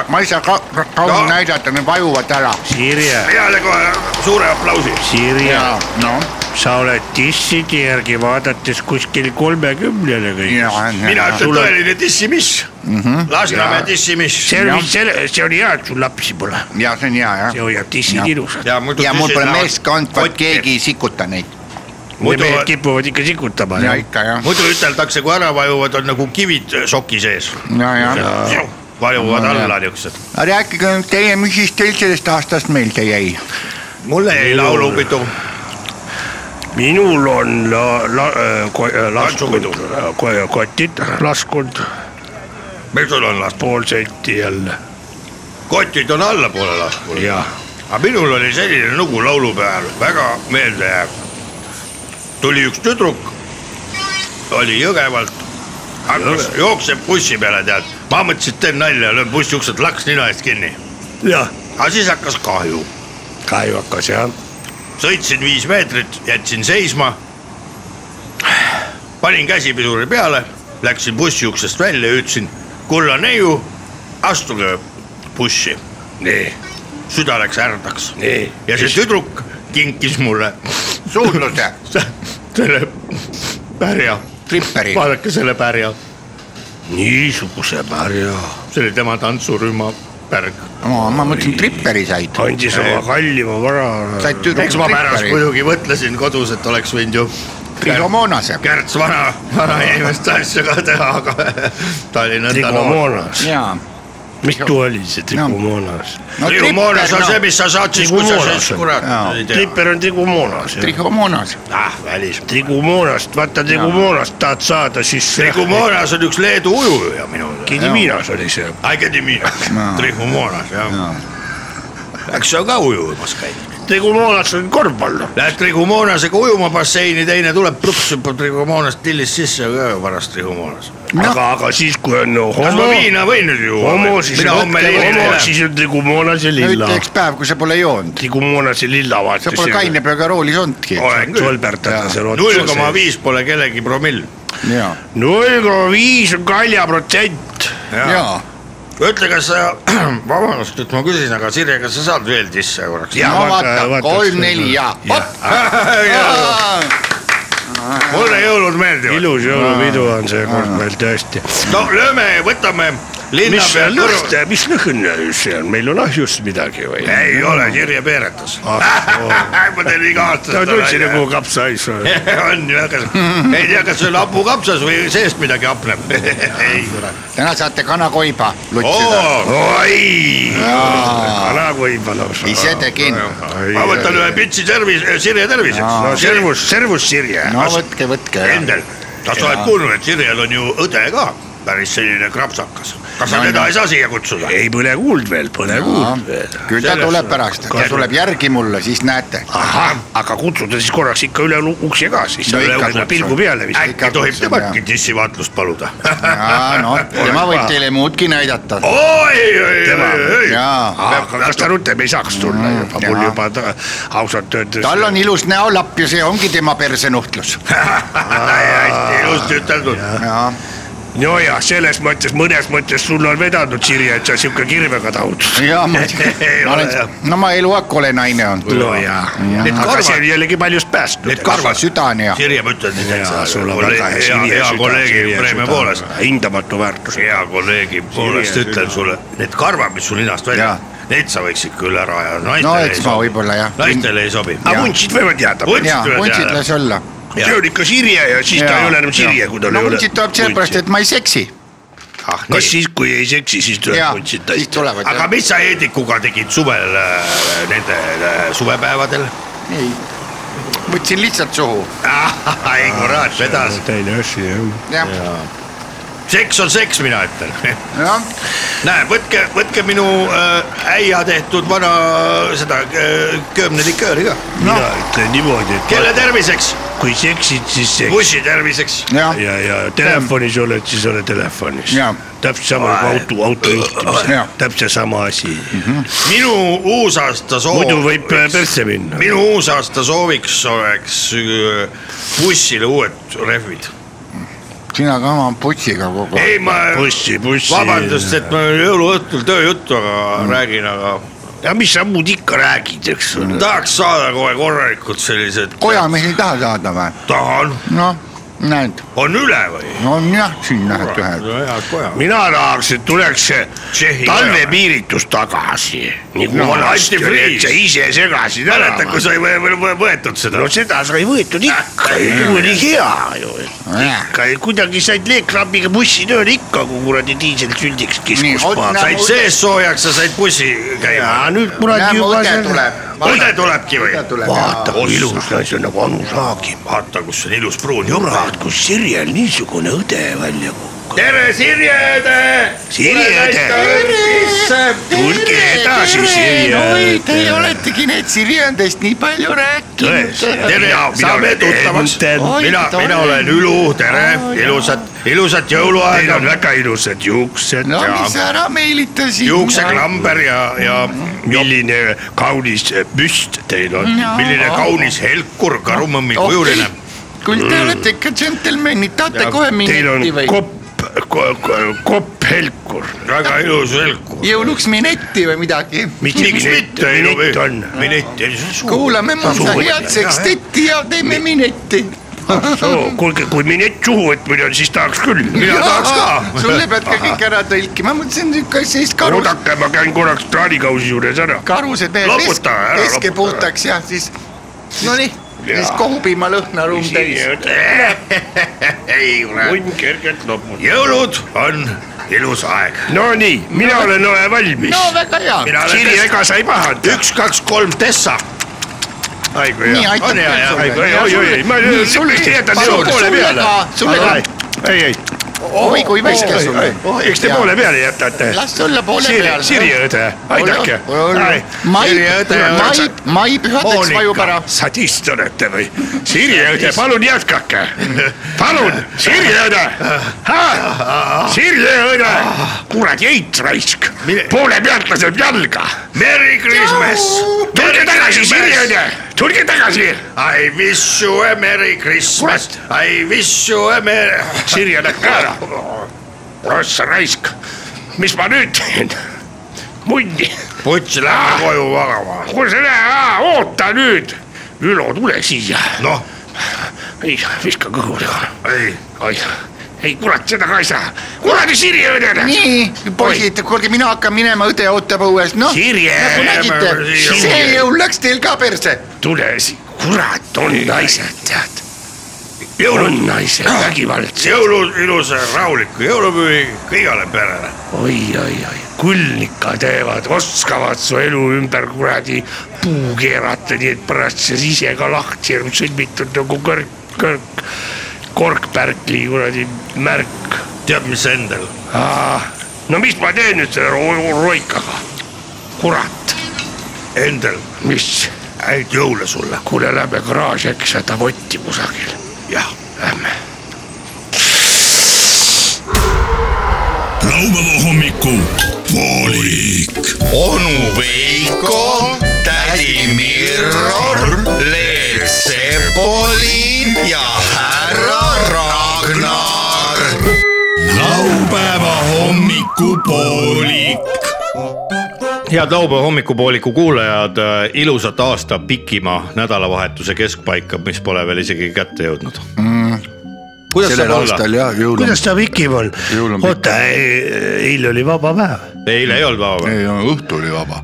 ma ei saa ka kaua
No.
näidata , need vajuvad ära .
Sirje ,
peale kohe suure aplausi .
Sirje ,
noh ,
sa oled disside järgi vaadates kuskil kolmekümnele kõik .
ja ,
mina
ja ,
ütlen
Sul on-
tõeline dissimiss .
Mhm.
Lasnamäe dissimiss .
see on , see on hea , et sul lapsi pole ,
ja see on hea jah .
see hoiab dissid
Jah.
ilusad .
ja mul pole meeskond , vaid keegi ei sikuta neid .
Need
muidu ,
mehed kipuvad ikka sikutama .
ja ikka jah ,
muidu üteldakse , kui ära vajuvad , on nagu kivid soki sees .
ja , ja .
vajuvad
No,
alla
jah.
niisugused .
rääkige nüüd teie , mis siis teil sellest aastast meelde jäi ?
mulle jäi
Minul-
laulupidu ,
minul on la, la, äh, ko- äh, laskud
Tantsupidu. ,
kotid laskud
meil sul on last ,
pool senti jälle
kotid on allapoole lasknud .
ja
aga minul oli selline lugu laulupea ajal , väga meeldejääv . tuli üks tüdruk , oli Jõgevalt , hakkas , jookseb bussi peale , tead . ma mõtlesin , et teen nalja , löön bussi uksed laks nina eest kinni .
jah ,
aga siis hakkas kahju ,
kahju hakkas jah ,
sõitsin viis meetrit , jätsin seisma . panin käsipiduri peale , läksin bussi uksest välja ja ütlesin , kulla neiu , astuge bussi .
nii ,
süda läks härdaks
nii .
ja see tüdruk kinkis mulle
suudluse ,
selle pärja ,
tripperi .
vaadake selle pärja ,
niisuguse pärja
see oli tema tantsurühma pärg .
ma mõtlesin , tripperi said .
andis oma kallima vara .
said tüdruk
eks ma pärast
tripperi ,
muidugi mõtlesin kodus , et oleks võinud ju
trigomoonase .
Kärts vana , vana inimeste asja ka teha , aga ta oli nõnda noor .
Trigomoonas ,
jaa ,
mitu oli see trihomoonas ?
no
trihomoonas on see , mis sa saad siis , kui sa
Trihomoonas
siis
on.
kurat
Jaa.
ei tea .
triiper on trihomoonas .
trihomoonas ,
ah , välis , trihomoonas , vaata trihomoonas tahad saada , siis .
Trihomoonas on üks Leedu ujuja minu teada .
Gediminas oli see .
Akademiina , Trihomoonas jah . eks see on ka ujumas käinud .
trihomoonas on korvpallur .
Lähed Trihumoonasega ujuma basseini , teine tuleb , plups hüppab Trihumoonast tillist sisse , varas Trihumoonas .
aga , aga siis , kui on no,
kas ma
homo ,
viina võin nüüd juua ?
homo , siis
mina homme liinile
homo ,
lähen .
siis on trihomoonas ja
no
lilla
ütle . üks päev , kui sa pole joonud ,
trihomoonas ja lilla vaata .
sa pole kaine peaga roolis olnudki .
olen küll ,
solbertada seal
null koma . viis pole kellegi promill .
ja ,
null koma viis on kalja protsent .
ja .
ütle , kas sa , vabandust , et ma küsin , aga Sirje , kas sa saad veel sisse korraks ?
Jaa,
no
vaata-
vaata ,
vaata,
kolm-neli ja
Jah.
hopp .
mulle jõulud meeldivad .
ilus jõulupidu on seekord meil tõesti .
no lööme , võtame
mis
linnapea
lõhn , mis lõhn see on , meil on ahjus midagi või ?
ei ole , Sirje peeretas . ma teen iga aasta
Ah, ta tundsin nagu kapsaais .
on ju , aga ei tea , kas see on hapukapsas või seest midagi hapneb . ei kurat .
täna saate kanakoiba lutsida .
oi ,
kanakoiba lausa .
ise tegin .
ma võtan ühe . pitsi tervis , Sirje
no
terviseks .
servus , servus Sirje .
no võtke , võtke .
Endel , kas sa oled kuulnud , et Sirjel on ju õde ka , päris selline krapsakas . kas sa teda ei saa siia kutsuda ?
ei põle kuuld veel , põle kuuld veel .
küll ta
Selles
tuleb
suhtes.
pärast , ta tuleb järgi mulle , siis näete .
ahah , aga kutsuda siis korraks ikka üle lu- ukse ka siis
No
üle
ikka
ukse
kutsun.
pilgu peale vist .
äkki tohib
kutsun,
temaltki dissivaatlust paluda ?
noh , tema võib teile muudki näidata .
oi , oi , oi , oi ,
jaa ,
aga kas ta rutem ei saaks tulla juba , mul
Jaa.
juba ta ausalt öeldes .
tal on ilus näolapp ja see ongi tema persenuhtlus .
hästi ilusti üteldud .
jaa ,
nojah , selles mõttes , mõnes mõttes sul on vedanud , Sirje , et sa sihuke kirvega tahud .
jaa , ma ma olen , no ma eluaeg kole naine olnud .
nojah , aga
karvad-
see on jällegi paljust päästnud .
karva süda on ja ,
Sirje , ma ütlen sind ,
ja sul on väga hea
hea , hea kolleegi preemia poolest ,
hindamatu väärtus .
hea kolleegi poolest
Sirje,
ütlen sulle , need karvad , mis sul ninast välja
Jaa. ,
need sa võiks ikka üle ära ajada ,
no
naistele ei
eks ma
sobi ,
võib-olla jah .
naistele ei sobi .
aga vuntsid võivad jääda .
Vuntsid
jaa ,
võivad
vuntsid
jääda.
las olla .
see on ikka Sirje ja siis ta ei ole enam Sirje , kui tal ei
no
ole .
vuntsid tuleb sellepärast , et ma ei seksi .
kas siis , kui ei seksi , siis
jaa
tuleb , vuntsid
siis
täis .
tulevad
aga
jah .
mis sa Heedikuga tegid suvel äh, nende äh, suvepäevadel ?
ei , võtsin lihtsalt suhu ,
ei kurat , vedas ,
teine asi jah .
jah ,
seks on seks , mina ütlen .
jah ,
näe , võtke , võtke minu äh, äia tehtud vana seda äh, köömnelikööri ka .
mina ütlen niimoodi , et
kelle terviseks ?
kui seksid , siis seks
bussi terviseks .
jah ,
ja , ja telefonis oled , siis ole telefonis
Jaa. .
täpselt sama kui auto , auto juhtimisel
Jaa. ,
täpselt sama asi .
minu uusaasta soov .
muidu võib äh, persse minna .
minu uusaasta sooviks oleks öö, bussile uued rehvid .
sina ka oma putsiga kogu aeg .
ei , ma ,
bussi , bussi .
vabandust ,. et ma jõuluõhtul tööjuttu aga räägin , aga
aga mis sa muud ikka räägid , eks ole .
tahaks saada kohe korralikult sellised .
kojamehi ei taha saada või ?
tahan ,
noh , näed ,
on üle või ?
on jah , siin näed ühed .
head koja .
mina tahaks , et tuleks see
Tšehhi
talvepiiritus tagasi . nagu
No,
vanasti oli ,
antifriis.
et sa ise segasid ära .
mäletad , kui sai võ- võ- võ- võetud seda
no ? seda sai võetud ikka , oli hea ju . ikka kuidagi said leekrabiga bussi tööle ikka , kui kuradi diiselsüldiks
Nii,
kiskus
oot,
maha .
said sees soojaks ja said bussi käima .
ja nüüd kuradi
näeme ,
juba
õde
seal .
tuleb .
õde tulebki või ?
vaata kui ilus naisi on nagu Anu Saagim .
vaata , kus on ilus pruun juba .
kurat , kus Sirjel niisugune õde välja kukkus .
tere , Sirje õde .
Sirje õde , tulge edasi , Sirje
oi , te
õde .
oletegi need Sirjandest nii palju rääkinud .
tere , saame tuttavaks .
Oi,
mina ,
tore.
mina olen Ülu , tere , ilusat , ilusat
Teil
jõuluaega
on . väga ilusad juuksed
no
ja
mis sa ära meelitasid .
juukseklamber ja , ja
milline kaunis püst teil on .
milline kaunis helkur , karumõmmi kujuline .
küll Oh. te olete ikka džentelmenid , tahate kohe
Teil on
minetti või ?
kopp , kopp helkur .
väga ilus helkur .
jõuluks minetti või midagi ?
miks mitte , ei
minett
no
on .
minett ,
kuulame mõnda
Suur-
head sekstetti ja teeme minetti .
kuulge , kui minett suhu võtmine on , siis tahaks küll .
mina tahaks ka .
sulle pead ka kõik ära tõlkima , ma mõtlesin , niisugune asi , siis karus ,
oodake , ma käin korraks traanikausi juures ära .
karused veel
Loputa ära,
peske
loputa
puhtaks ja siis , no nii , siis kohupiima lõhnaruum täis .
ei kurat ,
munn kergelt loput .
jõulud on
ilus aeg .
Nonii , mina olen ole valmis
no . väga hea .
Siiri , ega sa ei pahanda ?
üks , kaks , kolm , Tessa .
aigu
nii ,
jah .
aitäh
On hea, hea.
aigu , ei , oi , ei , ma
Nii, sul-
lihtsalt jätan
palun,
sinu poole
sulle
peale
ka- . sulle ka.
ei , ei ,
oi kui veiske sulle .
eks te poole peale jätate .
las sulle poole
Siiri ,
peale .
Siiri õde , aidake .
Maip , Maip , Maip ühateks vajub ära .
sadist olete või ? Siiri õde , palun jätkake . palun , Siiri õde . Siiri õde , kuradi eit raisk , poole pealt laseb jalga .
Merry Christmas .
tulge tagasi , Siiri õde , tulge tagasi .
I wish you a merry Christmas . I wish you a merry .
Siiri õde ka ära . ossa raisk , mis ma nüüd teen ? munni
putš , lähme koju magama .
kuule , sa näe , oota nüüd , Ülo , tule siia .
noh ,
ei , viska kõhule .
ei ,
oi , ei kurat , seda ka ei saa . kuradi Siri õdele .
nii , poisid , kuulge , mina hakkan minema , õde ootab õues , noh .
Sirje ,
nagu nägite , see jõul läks teil ka perse .
tule siia , kurat , on naised , tead . on naised , vägivaldsed ,
jõulud , ilus rahulikku jõulupühi kõigile perele .
oi , oi , oi , kulnika teevad , oskavad su elu ümber kuradi puu keerata , nii et pärast see sise ka lahti on sõlmitud nagu kõrg , kõrg , korkpärkli kuradi märk
tead , mis endal ?
Aa, no mis ma teen nüüd selle ro- roikaga ? kurat ,
Endel ,
mis ,
häid jõule sulle .
kuule lähme garaaži , äkki saad avotti kusagil ,
jah .
lähme .
laupäeva hommiku poolik .
onu Veiko , tädi Mirror , Leet Sepolin ja härra Ragnar .
laupäeva hommiku poolik .
head laupäeva hommikupooliku kuulajad , ilusat aasta Pikimaa nädalavahetuse keskpaika , mis pole veel isegi kätte jõudnud mm. . kuidas saab
sellel
olla ?
aastal ja jõul on
kuidas . ta Vikimaal
Jõul on , pikk.
oota , eile oli vaba päev .
eile ei olnud vaba päev ,
ei , õhtu oli vaba .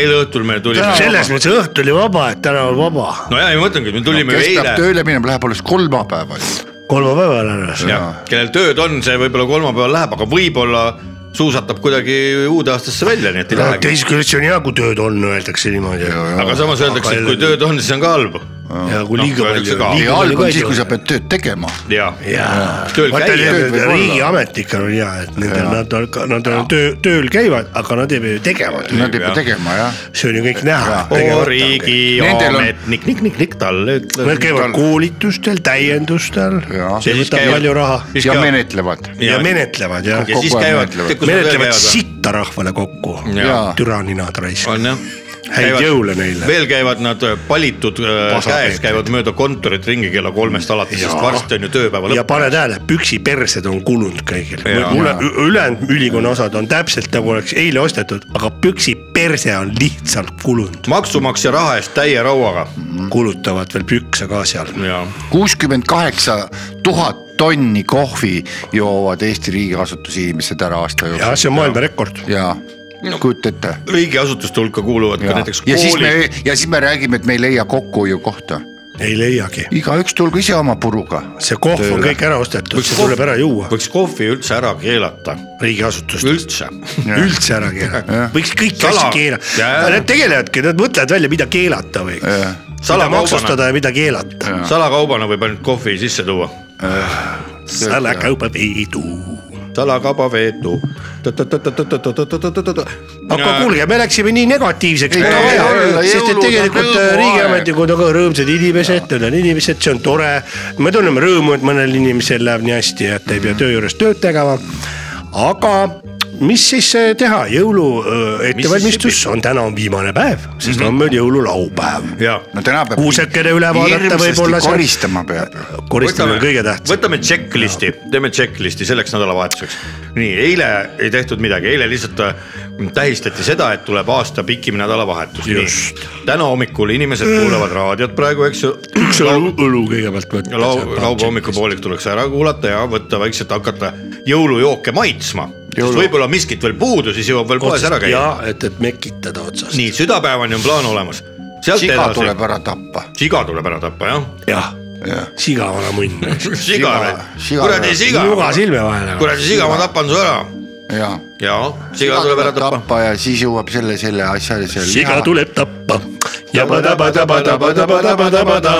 eile õhtul me tulime ,
selles mõttes õhtu oli vaba , et täna on vaba .
no ja ma mõtlengi , et me tulime no,
kes peab
eile ,
tööle minema , läheb alles kolmapäeval .
kolmapäeval alles .
kellel tööd on , see võib-olla kolmapäeval läheb , aga võib-olla suusatab kuidagi uude aastasse välja , nii et ei lähegi .
teisest küljest see on hea , kui tööd on , öeldakse niimoodi .
aga samas öeldakse , et kui tööd on , siis on ka halb .
ja kui liiga
Noh, öeldakse ka.
ei ,
palju .
halb on siis , kui sa pead tööd tegema .
ja ,
jaa ,
Tööl käia.
Tööd võib olla.
riigiametnikel on hea , et nendel nad on , nad on töö , tööl käivad , aga nad ei pea ju tegema tööd ,
Nad ei pea
jah.
tegema jah .
see on ju kõik näha .
o
Nad
Nendel on-
riigiametnik , nik-nik-nik talle ütleb .
käivad koolitustel , täiendustel ,
Jaa.
see
Ja siis
võtab
käivad-
palju raha
ja menetlevad .
ja menetlevad ja
ja siis
kogu aeg
käivad
menetlevad. ,
kus nad veel
menetlevad
käivad ?
sitta rahvale kokku
Jaa.
Jaa. .
türaninad raiskavad ,
on jah .
Häid jõule neile.
veel käivad nad äh, palitud äh, käes ,
Vasapeetrid.
käivad mööda kontorit ringi kella kolmest alates , sest
Jaa.
varsti on ju tööpäeva
ja
lõpp .
pane tähele , püksipersed on kulunud kõigil
Jaa. ,
ülejäänud ülikonna osad on täpselt nagu oleks eile ostetud , aga püksiperse on lihtsalt kulunud ,
maksumaksja raha eest täie rauaga .
kulutavad veel pükse ka seal .
ja ,
kuuskümmend kaheksa tuhat tonni kohvi joovad Eesti riigiasutusi inimesed ära aasta
jah ,
jooksul
see on maailmarekord .
ja kujuta ette .
riigiasutuste hulka kuuluvad ka
ja
näiteks
ja siis
koolid .
me ja siis me räägime , et me ei leia kokkuhoiukohta ,
ei leiagi ,
igaüks tulgu ise oma puruga .
see kohv on kõik ära ostetud , see tuleb ära juua ,
võiks kohvi üldse ära keelata ,
riigiasutustes
üldse .
üldse ära keelata , võiks kõiki
Sala-
asju keelata
Jaa. ,
nad tegelevadki , nad mõtlevad välja , mida keelata võiks , mida
Salakaubana.
maksustada ja mida keelata ,
salakaubana võib ainult kohvi sisse tuua .
salakauba peidu .
salakaba veetu .
aga kuulge , me läksime nii negatiivseks ,
Ei,
nagu
ei,
vaja
ei, , ei,
sest
jõulud
et
on
tegelikult äh,
rõõmuaeg.
riigiametnikud on ka rõõmsad inimesed , nad on inimesed , see on tore , me tunneme rõõmu , et mõnel inimesel läheb nii hästi , et ei pea töö juures tööd tegema , aga mis siis äh, teha , jõulu äh, ettevalmistus on , täna on viimane päev , sest homme on jõululaupäev
Mhm. ja ,
no täna peab .
kuusekene üle vaadata võib-olla seal-
koristama peab ju .
koristamine on kõige tähtsam .
võtame checklist'i , teeme checklist'i selleks nädalavahetuseks . nii , eile ei tehtud midagi , eile lihtsalt äh, tähistati seda , et tuleb aasta pikim nädalavahetus .
Just.
täna hommikul inimesed kuulavad raadiot praegu , eks ju .
üks õlu , õlu kõigepealt võtta .
laupäeva hommikupoolik tuleks ära kuulata ja võtta vaikselt hakata jõulujooke maitsma . sest võib-olla miskit veel puudu , siis jõuab veel poes ära käia .
ja et , et mekitada otsast .
nii , südapäevani on plaan olemas . sealt
siga
edasi ,
tuleb ära tappa .
siga tuleb ära tappa jah .
jah , sigavana munn .
siga ,
siga ära.
kuradi siga .
nuga silme vahele .
kuradi siga , ma tapan su ära .
ja .
ja siga tuleb ära tappa .
tappa ja siis jõuab selle , selle asja ja selle .
siga tuleb tappa . jabadabadabadabadabadabada .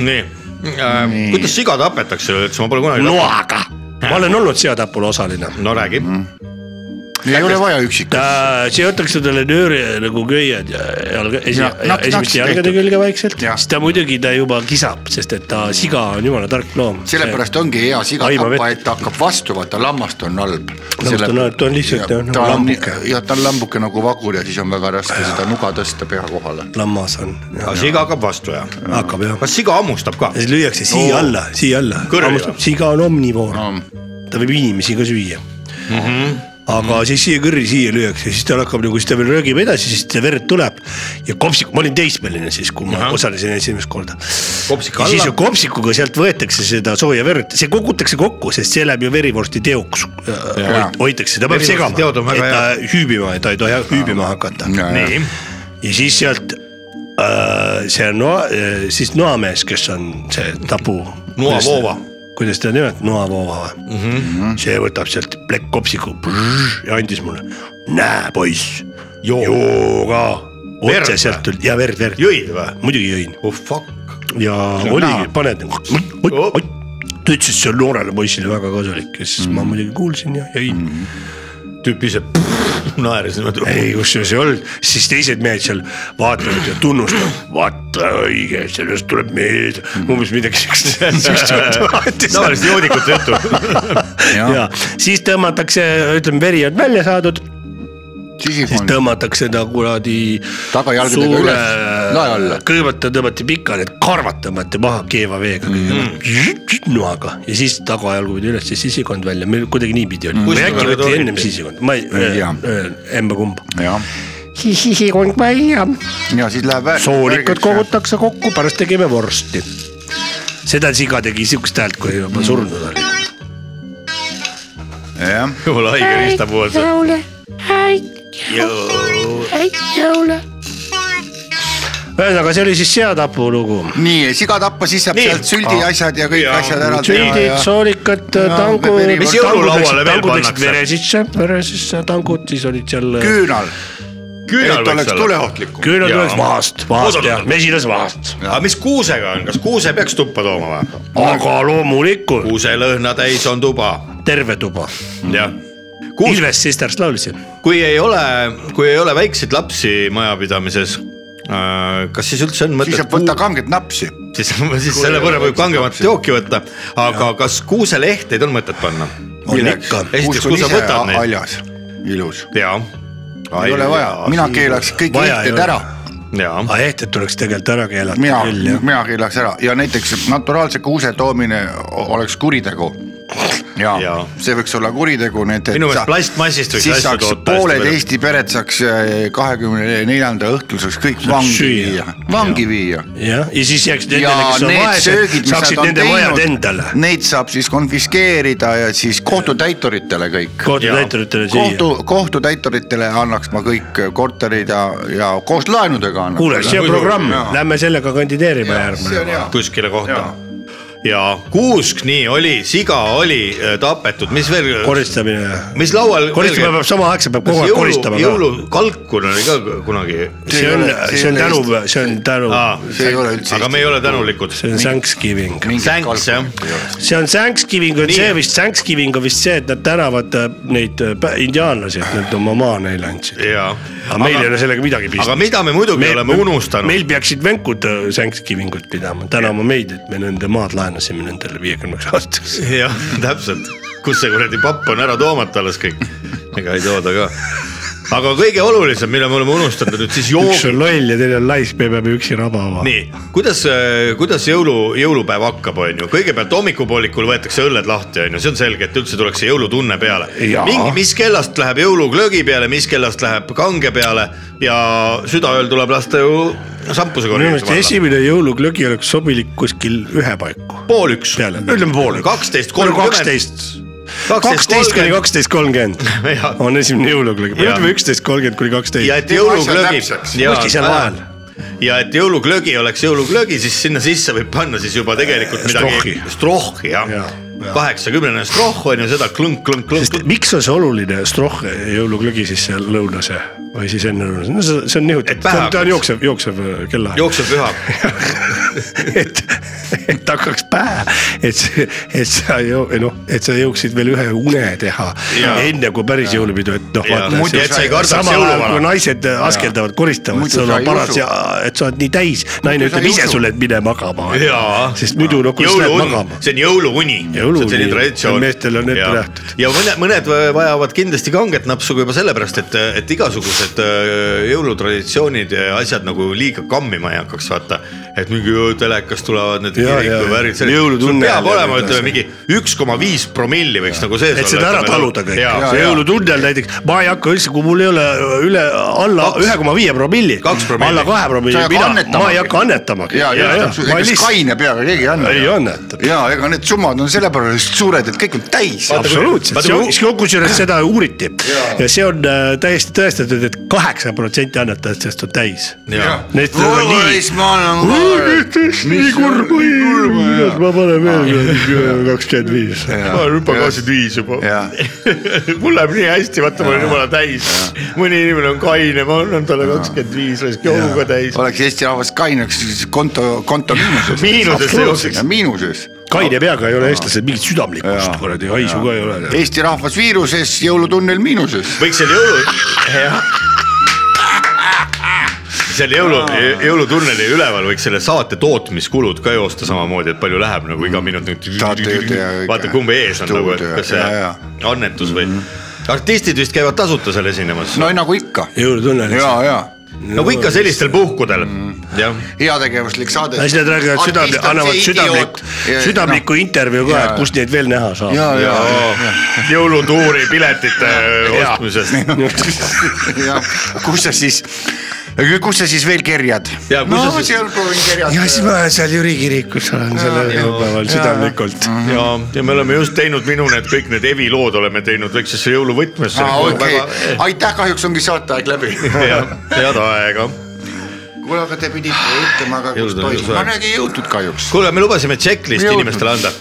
nii äh, , kuidas siga tapetakse üleüldse , ma pole kunagi .
noaga . ma olen olnud seatapul osaline .
no räägi mm. .
ei ole vaja üksikut .
ta seotakse talle nööri nagu köied ja jalga , esi-
Ja,
ja,
naks-
esimeste
naks
jalgade
tehtud.
külge vaikselt .
Ja.
siis ta muidugi , ta juba kisab , sest et ta siga on jumala tark loom .
sellepärast ongi hea siga
Aima
tappa ,
vett.
et ta hakkab vastu , vaata lammast on halb .
on halb, ta on lihtsalt jah, nagu
ta on
lambuke. ,
jah , ta on lambuke nagu vagur ja siis on väga raske seda nuga tõsta pea kohale .
lammas on ,
aga siga hakkab vastu ja .
hakkab jah .
kas siga hammustab ka
ja ? siis lüüakse siia
Oo.
alla , siia alla
Kõrvile. .
siga on omnivoor no. ,
no
ta võib inimesi ka süüa mm .
Mhm.
-hmm aga siis siia kõrri siia lüüakse , siis tal hakkab nagu , siis ta veel röögib edasi , siis ta verd tuleb ja kopsik , ma olin teismeline siis , kui ma
Ahah.
osalesin esimest korda .
kopsik
ja siis ju
alla .
kopsikuga sealt võetakse seda sooja verd , see kogutakse kokku , sest see läheb ju verivorsti teoks . hoitakse , ta peab
Verivorsti
segama ,
teod on
et
väga
ta hüübima , et ta ei tohi hüübima hakata .
Ja, ja.
nii ,
ja siis sealt äh, see noa , siis noamees , kes on see tabu .
Noavoova. .
kuidas ta nimetab , noavoova või mm ?
Mhm.
-hmm. see võtab sealt plekkkopsiku prrr, ja andis mulle , näe poiss ,
Joo.
joo ka .
Verd
otse
või?
sealt tuli ja verd , verd ,
jõid või ?
muidugi jõin
oh fuck .
ja
See on
oligi
näha. ,
paned nagu ott ,
Oh.
ott , ott . ta ütles , et see on noorele poissile väga kasulik ja siis
Mhm.
mm. ma muidugi kuulsin ja jõin mm. .
tüüp ise naeris niimoodi .
ei , kusjuures ei olnud , siis teised mehed seal vaatavad ja tunnustavad , vaata õige , sellest tuleb meelde , umbes midagi siukest , siukest juhatavat .
tavaliselt joodikute juttu .
ja siis tõmmatakse , ütleme , veri on välja saadud , siis
sisikond
tõmmatakse ta kuradi .
Tagajalgadega üles, lae alla.
kõigepealt ta tõmmati pikali , karvad tõmmati maha keeva veega
Mhm.
kõigepealt , noaga ja siis tagajalgu pidi üles ja sisikond välja , meil kuidagi niipidi oli , või
Kus
äkki
tagajalgu
võeti
torgiti?
ennem sisikond , ma
Ei
ei
tea. ,
emba-kumba .
jah ,
siis sisikond välja
ja siis läheb .
soolikud . kogutakse kokku , pärast tegime vorsti . seda siga tegi siukest häält , kui juba surnud oli .
jah ,
jumala haige riistapuu on see .
jõule , häid jõule , häid jõule .
ühesõnaga , see oli siis seatapu lugu .
nii siga tappa , siis saab
Nii. Ah.
sealt süldi asjad ja kõik
Ja,
asjad ära teha
sündid ,
ja .
soolikad ,
Ja,
tangu .
veri- Mis
jõululauale veel pannakse?
vere sisse , vere sisse , tangud , siis olid seal . äh,
küünal ,
küünal
et
võiks
oleks
olla .
tuleohtlikum .
küünad
Jaa.
oleks vahast , vahast
Oodata.
ja mesilas vahast .
aga mis kuusega on , kas kuuse peaks tuppa tooma või ?
aga loomulikult
kuuselõhna täis on tuba .
terve tuba .
jah . kuus ,
Ilves Sisters laulsin .
kui ei ole , kui ei ole väikseid lapsi majapidamises , kas siis üldse on
siis
mõtet
saab võtta kanget napsi .
siis , siis selle võrra võib kangemat jooki võtta , aga ja. kas kuuselehteid on mõtet panna ?
on ikka .
esiteks , kui sa võtad neid .
haljas , ilus .
ja ,
ei ole vaja , mina keelaks kõik
Vaja ei
lehted
ole.
ära
ja ,
aga Ah, ehted tuleks tegelikult ära keelata
mina
küll , jah .
mina keelaks ära ja näiteks naturaalse kuuse toomine o- oleks kuritegu . ja, ja
Jaa.
see võiks olla kuritegu , nii et .
Minu meelest plastmassist võiks
siis
asju
saaks
toota hästi
pooled
palju.
Eesti pered saaks äh, kahekümne neljanda õhtul saaks kõik vangi
süüa.
viia , vangi viia .
jah , ja siis jääks
ja
nendele , kes on
need
vaesed
söögid , mis nad
saaksid
on
nende majad endale
teinud , neid saab siis konfiskeerida ja siis kohtutäituritele kõik .
kohtutäituritele süüa .
kohtu , kohtutäituritele annaks ma kõik korterid ja , ja koos laenudega annaks .
kuule , see on programm , lähme sellega kandideerima
see on
järgmine .
hea .
kuskile kohta . ja kuusk nii oli , siga oli äh, tapetud , mis veel ,
koristamine .
mis laual .
koristama peab samaaegselt , peab kogu aeg koristama noh. ka .
jõulukalkun oli ka kunagi ,
see on
See ei ole- ,
see on
see ei
tänu
ole ,
see on tänu ,
Aa.
see ei ole üldse
aga me ei ole tänulikud .
see on Thanksgiving .
Thanks jah ,
see on Thanksgiving on
Nii.
see vist , Thanksgiving on vist see , et nad tänavad äh, neid äh, pä- indiaanlasi , et nad oma maa neile andsid .
ja .
aga meil ei ole sellega midagi
aga
pistmist .
mida me muidugi me, oleme unustanud
meil peaksid venkud äh, Thanksgivingut pidama , tänama meid , et me nende maad laenasime nendele viiekümneks aastaks .
jah , täpselt , kus see kuradi papp on ära toomata alles kõik , ega ei tooda ka . aga kõige olulisem , mille me oleme unustanud nüüd siis
üks
jook .
on loll ja teine on laisk , me peame üksi rabama .
nii , kuidas , kuidas jõulu , jõulupäev hakkab , on ju , kõigepealt hommikupoolikul võetakse õlled lahti , on ju , see on selge , et üldse tuleks see jõulutunne peale .
Jaa.
mingi , mis kellast läheb jõuluklõgi peale , mis kellast läheb kange peale ja südaööl tuleb lasta ju šampuse
minu meelest
korjata .
esimene jõuluklõgi oleks sobilik kuskil ühe paiku .
pool üks .
peale , ütleme poole .
kaksteist , kolmkümmend .
kaksteist , kaksteist kuni . kaksteist kolmkümmend
Jaa.
on esimene jõuluklõgi ,
Jaa.
ütleme üksteist kolmkümmend kuni
ja
kaksteist .
et
Teeme asja
jõuluklõgi
täpseks. .
kuskil seal vahel .
ja et jõuluklõgi oleks jõuluklõgi , siis sinna sisse võib panna siis juba tegelikult midagi
Strohhi.
strohhi jah ja.
Jaa. ,
kaheksakümnene Stroh on ju seda klõnk , klõnk ,
sest
klõnk ,
miks on see oluline Stroh jõuluglögi siis seal lõunase või siis enne lõunase , no see see
Et
on nihutatud ,
pähe
ta on
hakkaks.
jooksev , jooksev äh, kellaaeg .
jookseb püha .
et , et hakkaks pähe , et , et sa jõu- , noh , et sa jõuaksid veel ühe une teha
Jaa.
enne kui päris jõulupidu , et noh ,
Jaa. Muidu sa ei kardaks
samal ajal
jõuluvana.
kui naised äh, askeldavad , koristavad ,
Muidu
sul
sa
on
ei
paras
usu.
ja et sa oled nii täis , naine
Muidu sa
ütleb
ei
ise
usu.
sulle , et mine magama .
jaa .
sest muidu noh , kuidas lähed magama ?
see on jõuluuni .
Jõuluuni.
selline traditsioon .
Meestel on ette nähtud. .
ja mõned , mõned vajavad kindlasti kanget napsu ka juba sellepärast , et , et igasugused öö, jõulutraditsioonid ja asjad nagu liiga kammima ei hakkaks , vaata . et mingi öö, telekas tulevad need
Jaa, jaa.
kirikuvärgid .
Jõulutunne
peab
jälle
olema ,
nüüd
ütleme mingi üks koma viis promilli võiks nagu sees olla .
et seda ära taluda kõik ,
jaa ,
see jõulutunnel näiteks , ma ei hakka üldse , kui mul ei ole äh, üle , alla
Kaks.
ühe koma viie promilli ,
Kaks promilli.
alla kahe
Sa
promilli
ei , hakka
mina , ma
annetamagi.
ei hakka annetamagi .
ja , ja , ega siis kaine peaga keegi ei anna .
ei anneta .
ja ega need summad on sellepärast suured , et kõik on täis .
absoluutselt ,
vaata,
see
kui-
on , kusjuures seda uuriti ja see on äh, täiesti tõestatud et , et kaheksa protsenti annetajatest on täis .
jaa .
Need on nii , nii kurb , nii kurb , ma panen veel kakskümmend viis .
äh, ma olen hüpakaasid viis juba . mul läheb nii hästi , vaata , ma olen jumala täis . mõni inimene on kaine , ma annan talle kakskümmend viis , raisk jõuluga täis .
oleks Eesti rahvas kaineks , siis konto , konto miinuses .
miinusesse jookseks .
miinuses .
kaine peaga ei ole eestlased mingit südamlikkust , kuradi haisu ka ei ole .
Eesti rahvas viiruses , jõulutunnel miinuses .
võiks seal jõulu , seal jõulu , jõulutunneli üleval võiks selle saate tootmiskulud ka joosta samamoodi , et palju läheb nagu iga minut .
Saatejuht ja kõik.
vaata , kumb ees on nagu , et kas
Jaa, jaa.
see annetus või
Mhm.
artistid vist käivad tasuta seal esinemas ,
no nagu ikka .
jõulutunnel ,
ja , ja
nagu ikka sellistel puhkudel ,
Mhm.
jah
heategevuslik saade .
siis nad räägivad südamlik , annavad südamlik , südamlikku intervjuu ka ,
Jaa,
et kust neid veel näha saab .
ja , ja ,
jõulutuuri piletite äh, ostmisest .
ja kus sa siis , kus sa siis veel kerjad ?
Ja kus sa
no
siis-
seal proovin
ja siis
kerjata .
ma seal Jüri kirikus olen sellel jõulupäeval südamlikult .
ja , ja me oleme just teinud minu need kõik need evilood oleme teinud väiksesse jõuluvõtmesse .
aa , Ah, okei , Ah. aitäh , kahjuks ongi saateaeg läbi .
head aega .
kuule , aga te pidite ütlema ka , kus
Jõulude
toimub ,
aeg.
ma nägin ei jõudnud kahjuks .
kuule , me lubasime checklist
Jõudnud.
inimestele anda ,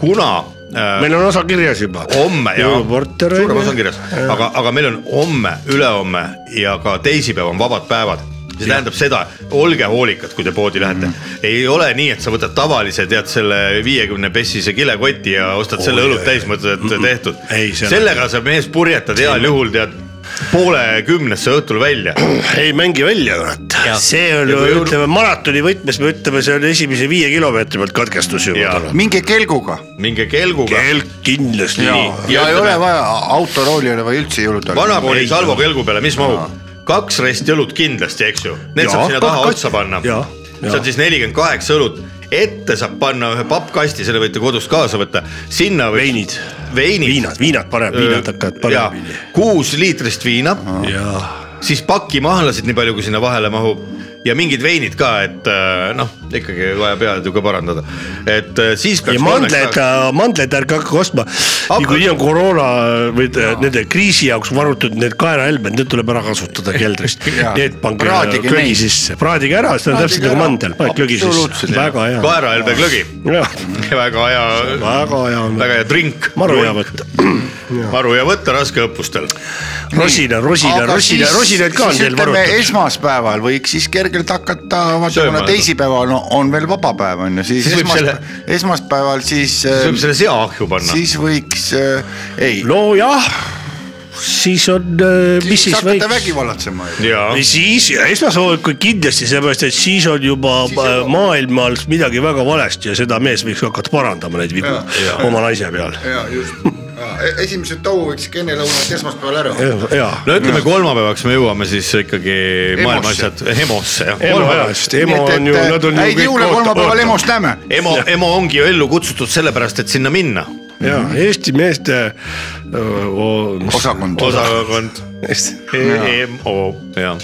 kuna äh,
meil on osa kirjas juba .
homme ja
jõuluporter
suurem osa on kirjas , aga , aga meil on homme , ülehomme ja ka teisipäev on vabad päevad see tähendab seda , olge hoolikad , kui te poodi lähete mm ,
Mhm.
-hmm. ei ole nii , et sa võtad tavalise , tead selle viiekümne pessise kilekoti ja ostad oh, selle õlut täis , mõtled , et tehtud .
Ei, see on-
sellega sa mees purjetad heal juhul tead poole kümnesse õhtul välja .
ei mängi välja , kurat
Jah. .
see on
Ja
ju
kui , jõulu-
ütleme maratoni võtmes , me ütleme , see on esimese viie kilomeetri pealt katkestus ju .
Jaa.
minge kelguga
minge kelguga ,
kelk kindlasti .
ja ei
ütleme-
ole vaja , autorooli ei ole vaja üldse jõuludel .
vanakooli salvo kelgu peale , mis mahub ? kaks resti õlut kindlasti , eks ju , need
Jaa.
saab sinna taha
Kaks-
otsa panna .
jaa,
see on
jaa.
siis nelikümmend kaheksa õlut , ette saab panna ühe pappkasti , selle võite kodust kaasa võtta , sinna võib... .
veinid ,
veinid .
viinad , viinad parem , viinad hakkavad paremini .
kuus liitrist viina ,
ja
siis pakki mahlasid , nii palju kui sinna vahele mahub ja mingid veinid ka , et äh, noh , ikkagi vaja pead ju ka parandada , et äh, siis .
ja mandleid , mandleid ärge hakake ostma . niikuinii on koroona või te- nende kriisi jaoks varutud need kaerahelmed , need tuleb ära kasutada keldrist . Need pange
Praadige
klõgi
neid.
sisse , praadige ära , see on täpselt nagu mandel , paned klõgi sisse ,
Absoluutselt.
väga hea .
kaerahelbe klõgi , väga hea ,
väga hea on .
väga hea drink .
maru hea . võtta .
maru hea võtta raskeõppustel
rosina , rosina , rosina , rosinaid ka on teil varutatud .
esmaspäeval võiks siis kergelt hakata , vaata
Sööma
kuna
hakata.
teisipäeval on, on veel vaba päev on ju , siis
Siis võib
esmaspäeval
selle- ,
esmaspäeval siis ,
siis võib selle sea ahju panna .
siis võiks , ei .
nojah , siis on , mis siis
hakkate
võiks .
vägivallatsema ju .
ja
siis esmashommikul kindlasti , sellepärast et siis on juba äh, maailmas midagi väga valesti ja seda mees võiks hakata parandama neid vigu oma naise peal .
ja just , esimese tau võiks ikka enne lõunat esmaspäeval ära .
ja ,
no ütleme , kolmapäevaks me jõuame siis ikkagi maailma
Emosse.
asjad EMO-sse jah .
emo ja , sest emo on ju , nad on
häid
ju
jõule kolmapäeval . EMO-s näeme .
EMO , EMO ongi ju ellu kutsutud sellepärast , et sinna minna .
ja Eesti meeste .
osakond .
osakond
osakond .
EMO ja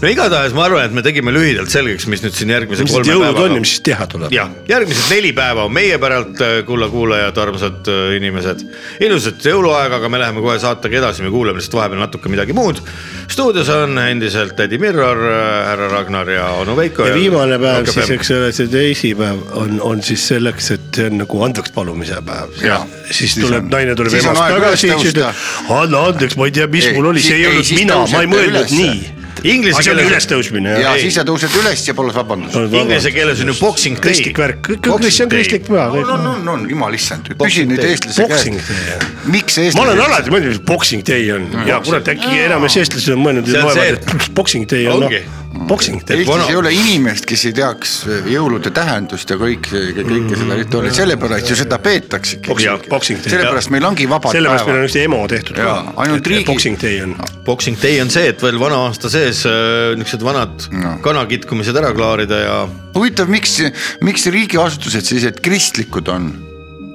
E, no igatahes ma arvan , et me tegime lühidalt selgeks , mis nüüd siin järgmise
mis need
kolme
jõulud on
päevaga
ja mis siis teha tuleb ?
jah , järgmised neli päeva on meie päralt , kulla kuulajad , armsad äh, inimesed . ilusat jõuluaega , aga me läheme kohe saatega edasi , me kuulame lihtsalt vahepeal natuke midagi muud . stuudios on endiselt tädi Mirror , härra Ragnar ja onu Veiko .
ja viimane päev siis , eks ole , see teisipäev on , on siis selleks , et see on nagu andeks palumise päev .
Jah.
siis
Siis
tuleb
on-
naine tuleb
siis on
emast
aeg üles
tagasi , siis
tõusta.
ütleb , anna andeks , ma ei tea , mis
Ei,
mul oli ,
siis-
see ei
ei,
olnud
siis
mina , ma ei
tõusete
mõelnud
ülesse.
nii .
Inglise
aga see oli
keeles-
ülestõusmine
ja
jah .
siis sa tõused üles ja palus vabandust .
Inglise keeles on ju boxing day
kristlik . värk , see on
Boxing
kristlik püha .
on , on , on , on , jumal issand , küsi nüüd eestlase
Boxing
käest ,
day jah .
miks
ma olen
eestlased ,
alati mõelnud , mis boxing day on ja kurat , äkki enamus eestlasi on mõelnud ,
See
et
on see.
loevad , et boxing day on
Ongi.
noh , boxing day .
Eestis ei ole inimest , kes ei teaks eh, jõulude tähendust ja kõik ,
Mm-hmm.
kõike seda rituaali , sellepärast ju seda peetaksegi .
Boxing- boxing day.
sellepärast meil ongi vabad
sellepärast meil on
päevad .
üks EMO tehtud
Jaa,
ka .
ainult riigi-
boxing day on .
Boxing day on see , et veel vana aasta sees äh, niisugused vanad no.
No.
kanakitkumised ära klaarida ja
huvitav , miks , miks riigiasutused sellised kristlikud on ?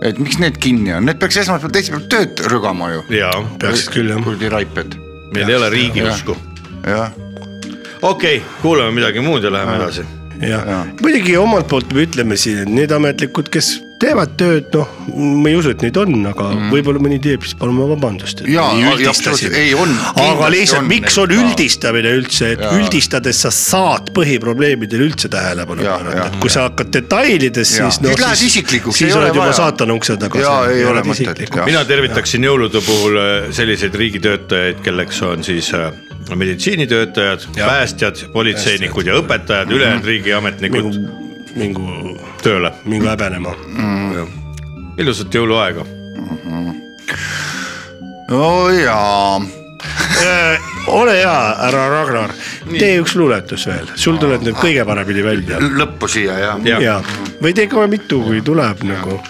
et miks need kinni on , need peaks esmaspäeval , teisipäeval tööd rügama ju .
ja
peaksid küll jah .
kuradi raiped ,
meil ei ole riigiusku .
jah .
okei okay, , kuulame midagi muud ja
Äh.
läheme edasi .
jah , muidugi omalt poolt me ütleme siin , et need ametnikud , kes teevad tööd , noh , ma ei usu , et neid on , aga mm. võib-olla mõni teeb , siis palume vabandust .
Jaa, ei, absoluutselt, ei, on,
aga
kindlasti
lihtsalt ,
on
miks
neid
on
ka.
üldistamine üldse , et
Jaa.
üldistades sa saad põhiprobleemidele üldse tähelepanu
Jaa,
pöörata
jaa. ,
et kui sa hakkad detailides ,
Jaa.
siis .
Siis lähed isiklikuks, ei
siis
ole
oled juba
vaja.
saatana ukse taga .
Jaa, ei ole mõtet, jah.
mina tervitaksin jõulude puhul äh, selliseid riigitöötajaid , kelleks on siis äh, meditsiinitöötajad , päästjad , politseinikud ja õpetajad , ülejäänud riigiametnikud
mingu ,
tööle .
mingu häbenema mm. .
ilusat jõuluaega .
no jaa ,
ole hea , härra Ragnar , tee üks luuletus veel , sul tuleb nüüd kõige paremini välja .
lõppu siia jah
ja, ja.
ja või tee kohe mitu , kui tuleb nagu .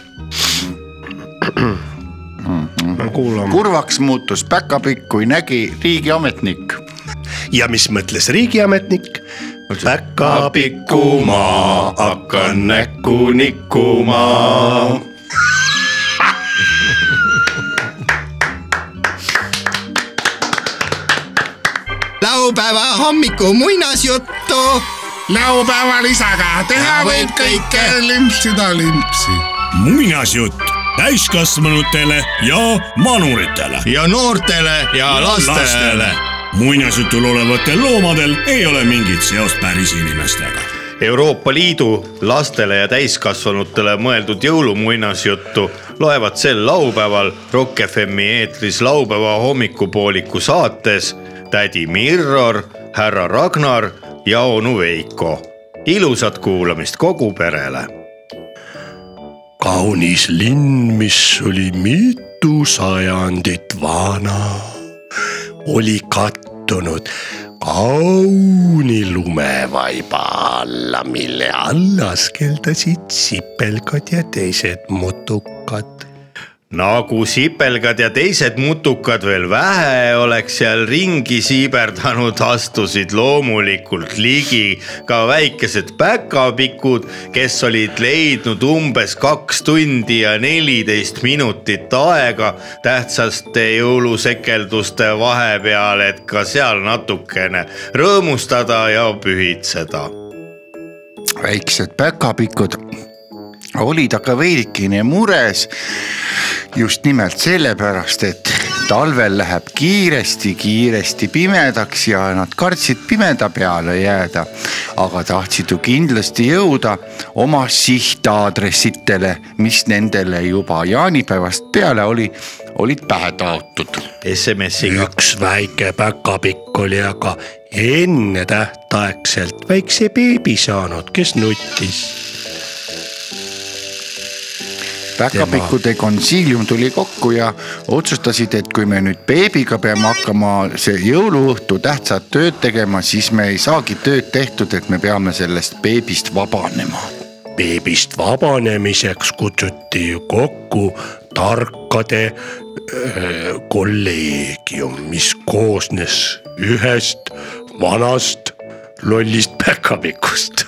ma kuulan .
kurvaks muutus päkapikk , kui nägi riigiametnik .
ja mis mõtles riigiametnik ? päkapikku ma hakkan näkku nikkuma .
laupäeva hommiku muinasjuttu .
laupäeva lisaga teha võib kõike , limpsida limpsi .
muinasjutt täiskasvanutele ja manuritele .
ja noortele ja lastele .
muinasjutul olevatel loomadel ei ole mingit seost päris inimestega .
Euroopa Liidu lastele ja täiskasvanutele mõeldud jõulumuinasjuttu loevad sel laupäeval Rock FM-i eetris laupäeva hommikupooliku saates tädi Mirror , härra Ragnar ja onu Veiko . ilusat kuulamist kogu perele
kaunis linn , mis oli mitu sajandit vana , oli kattunud kauni lumevaiba alla , mille all askeldasid sipelgad ja teised mutukad .
nagu sipelgad ja teised mutukad veel vähe oleks seal ringi siiberdanud , astusid loomulikult ligi ka väikesed päkapikud , kes olid leidnud umbes kaks tundi ja neliteist minutit aega tähtsaste jõulusekelduste vahepeal , et ka seal natukene rõõmustada ja pühitseda .
väiksed päkapikud olid aga veidikene mures just nimelt sellepärast , et talvel läheb kiiresti-kiiresti pimedaks ja nad kartsid pimeda peale jääda . aga tahtsid ju kindlasti jõuda oma sihtaadressitele , mis nendele juba jaanipäevast peale oli , olid pähe taotud .
SMS-iga .
üks väike päkapikk oli aga ennetähtaegselt väikse beebi saanud , kes nuttis
päkapikkude konsiilium tuli kokku ja otsustasid , et kui me nüüd beebiga peame hakkama see jõuluõhtu tähtsat tööd tegema , siis me ei saagi tööd tehtud , et me peame sellest beebist vabanema .
beebist vabanemiseks kutsuti ju kokku tarkade öö, kolleegium , mis koosnes ühest vanast lollist päkapikust .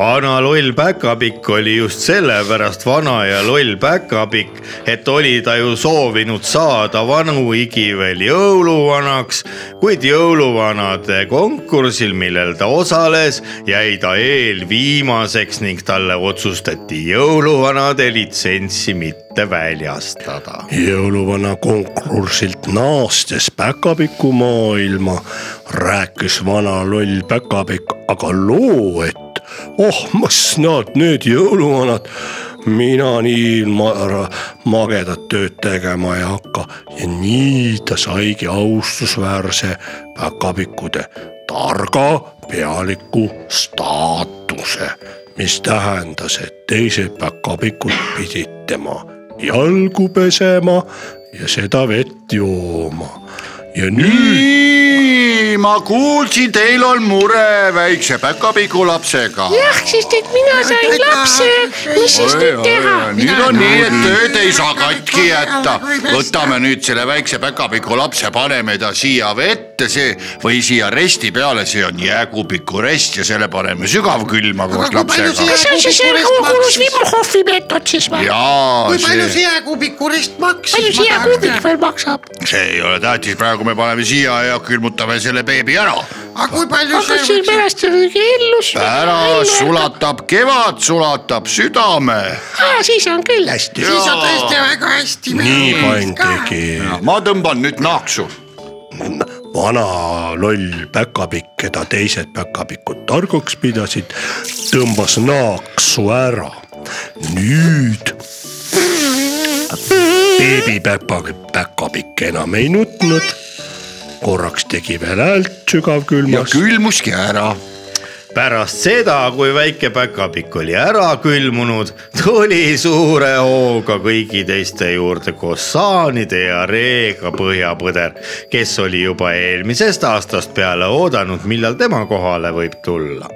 vana loll päkapikk oli just sellepärast vana ja loll päkapikk , et oli ta ju soovinud saada vanu igi veel jõuluvanaks , kuid jõuluvanade konkursil , millel ta osales , jäi ta eelviimaseks ning talle otsustati jõuluvanade litsentsi mitte väljastada .
jõuluvana konkursilt naastes päkapiku maailma rääkis vana loll päkapikk aga loo , et oh , mis nad need jõuluvanad , mina nii ma ra- magedat tööd tegema ei hakka ja nii ta saigi austusväärse päkapikkude targa pealiku staatuse , mis tähendas , et teised päkapikud pidid tema jalgu pesema ja seda vett jooma . ja nüüd
nii , ma kuulsin , teil on mure väikse päkapiku lapsega .
jah , sest et mina sain lapse , mis siis nüüd teha ?
nüüd on nii , et tööd ei saa katki jätta . võtame nüüd selle väikse päkapiku lapse , paneme ta siia vette , see või siia resti peale , see on jääkupiku rest ja selle paneme sügavkülma koos lapsega .
kas see on siis see kuulus Wimmerhoffi meetod siis või ?
jaa ,
kui
see ,
palju see jääkuubiku rist maksis ?
palju see kuubik veel maksab ?
see ei ole tähtis , praegu me paneme siia ja külmutame selle beebi ära
aga kui palju
aga
see
siin pärast muidugi ellus .
ära . sulatab kevad , sulatab südame .
siis on küll hästi .
siis on tõesti väga hästi .
nii pandigi
ma tõmban nüüd nahksu .
vana loll päkapikk , keda teised päkapikud targaks pidasid , tõmbas naaksu ära . nüüd beebipäpa , päkapikk enam ei nutnud , korraks tegi veel häält
ja
sügavkülmas .
külmuski ära .
pärast seda , kui väike päkapikk oli ära külmunud , tuli suure hooga kõigi teiste juurde koos saanide ja reega põhjapõder , kes oli juba eelmisest aastast peale oodanud , millal tema kohale võib tulla .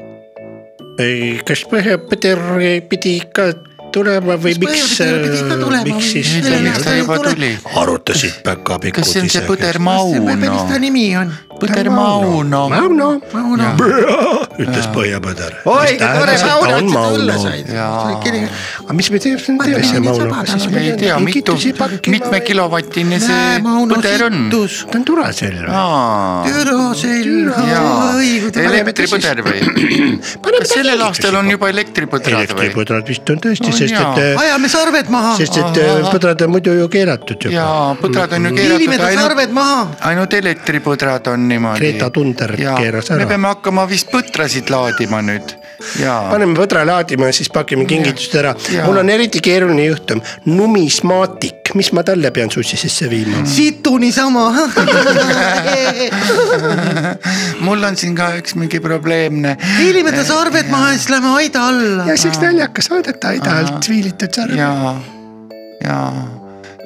ei , kas põhjapõder pidi ikka tulema või miks , miks siis
miks ta juba tuli ?
arutasid päkapikud
kas see on see
ise, kes-
põder Mauno
mis ta ? nimi on ?
põder Mauno .
Mauno , ütles Põhjapõder .
Oi, tore,
Laura , et sa tulla
Mauno .
said . aga
aga mis me teeme , mis me teeme
ei
selle
tea,
Maunoga
sabada,
siis ?
ei tea , mitu , mitme kilovatine see
Mauno,
põder
Hmm.
on ?
ta on turaselv .
jaa , elektripõder või ?
paneme
kas sellel aastal on juba elektripõdrad või ?
elektripõdrad vist on tõesti ,
On
sest
jaa.
et ,
ajame sarved maha ,
sest et äh, põdrad on muidu ju keelatud juba .
jaa , põdrad on ju
piirime
keeratud
ta
ainult ,
sarved maha .
ainult elektripõdrad on niimoodi .
Greta Thunberg keeras ära.
me peame hakkama vist põtrasid laadima nüüd . jaa ,
paneme põdra laadima ja siis pakime kingitust ära .
Jaa.
mul on eriti keeruline juhtum , numismaatik , mis ma talle pean sussi sisse viima ?
situ niisama .
mul on siin ka üks mingi probleemne .
piirime ta sarved maha ja siis lähme aida alla .
ja see oleks naljakas vaadata aida alt viilitud sarve .
jaa , jaa ,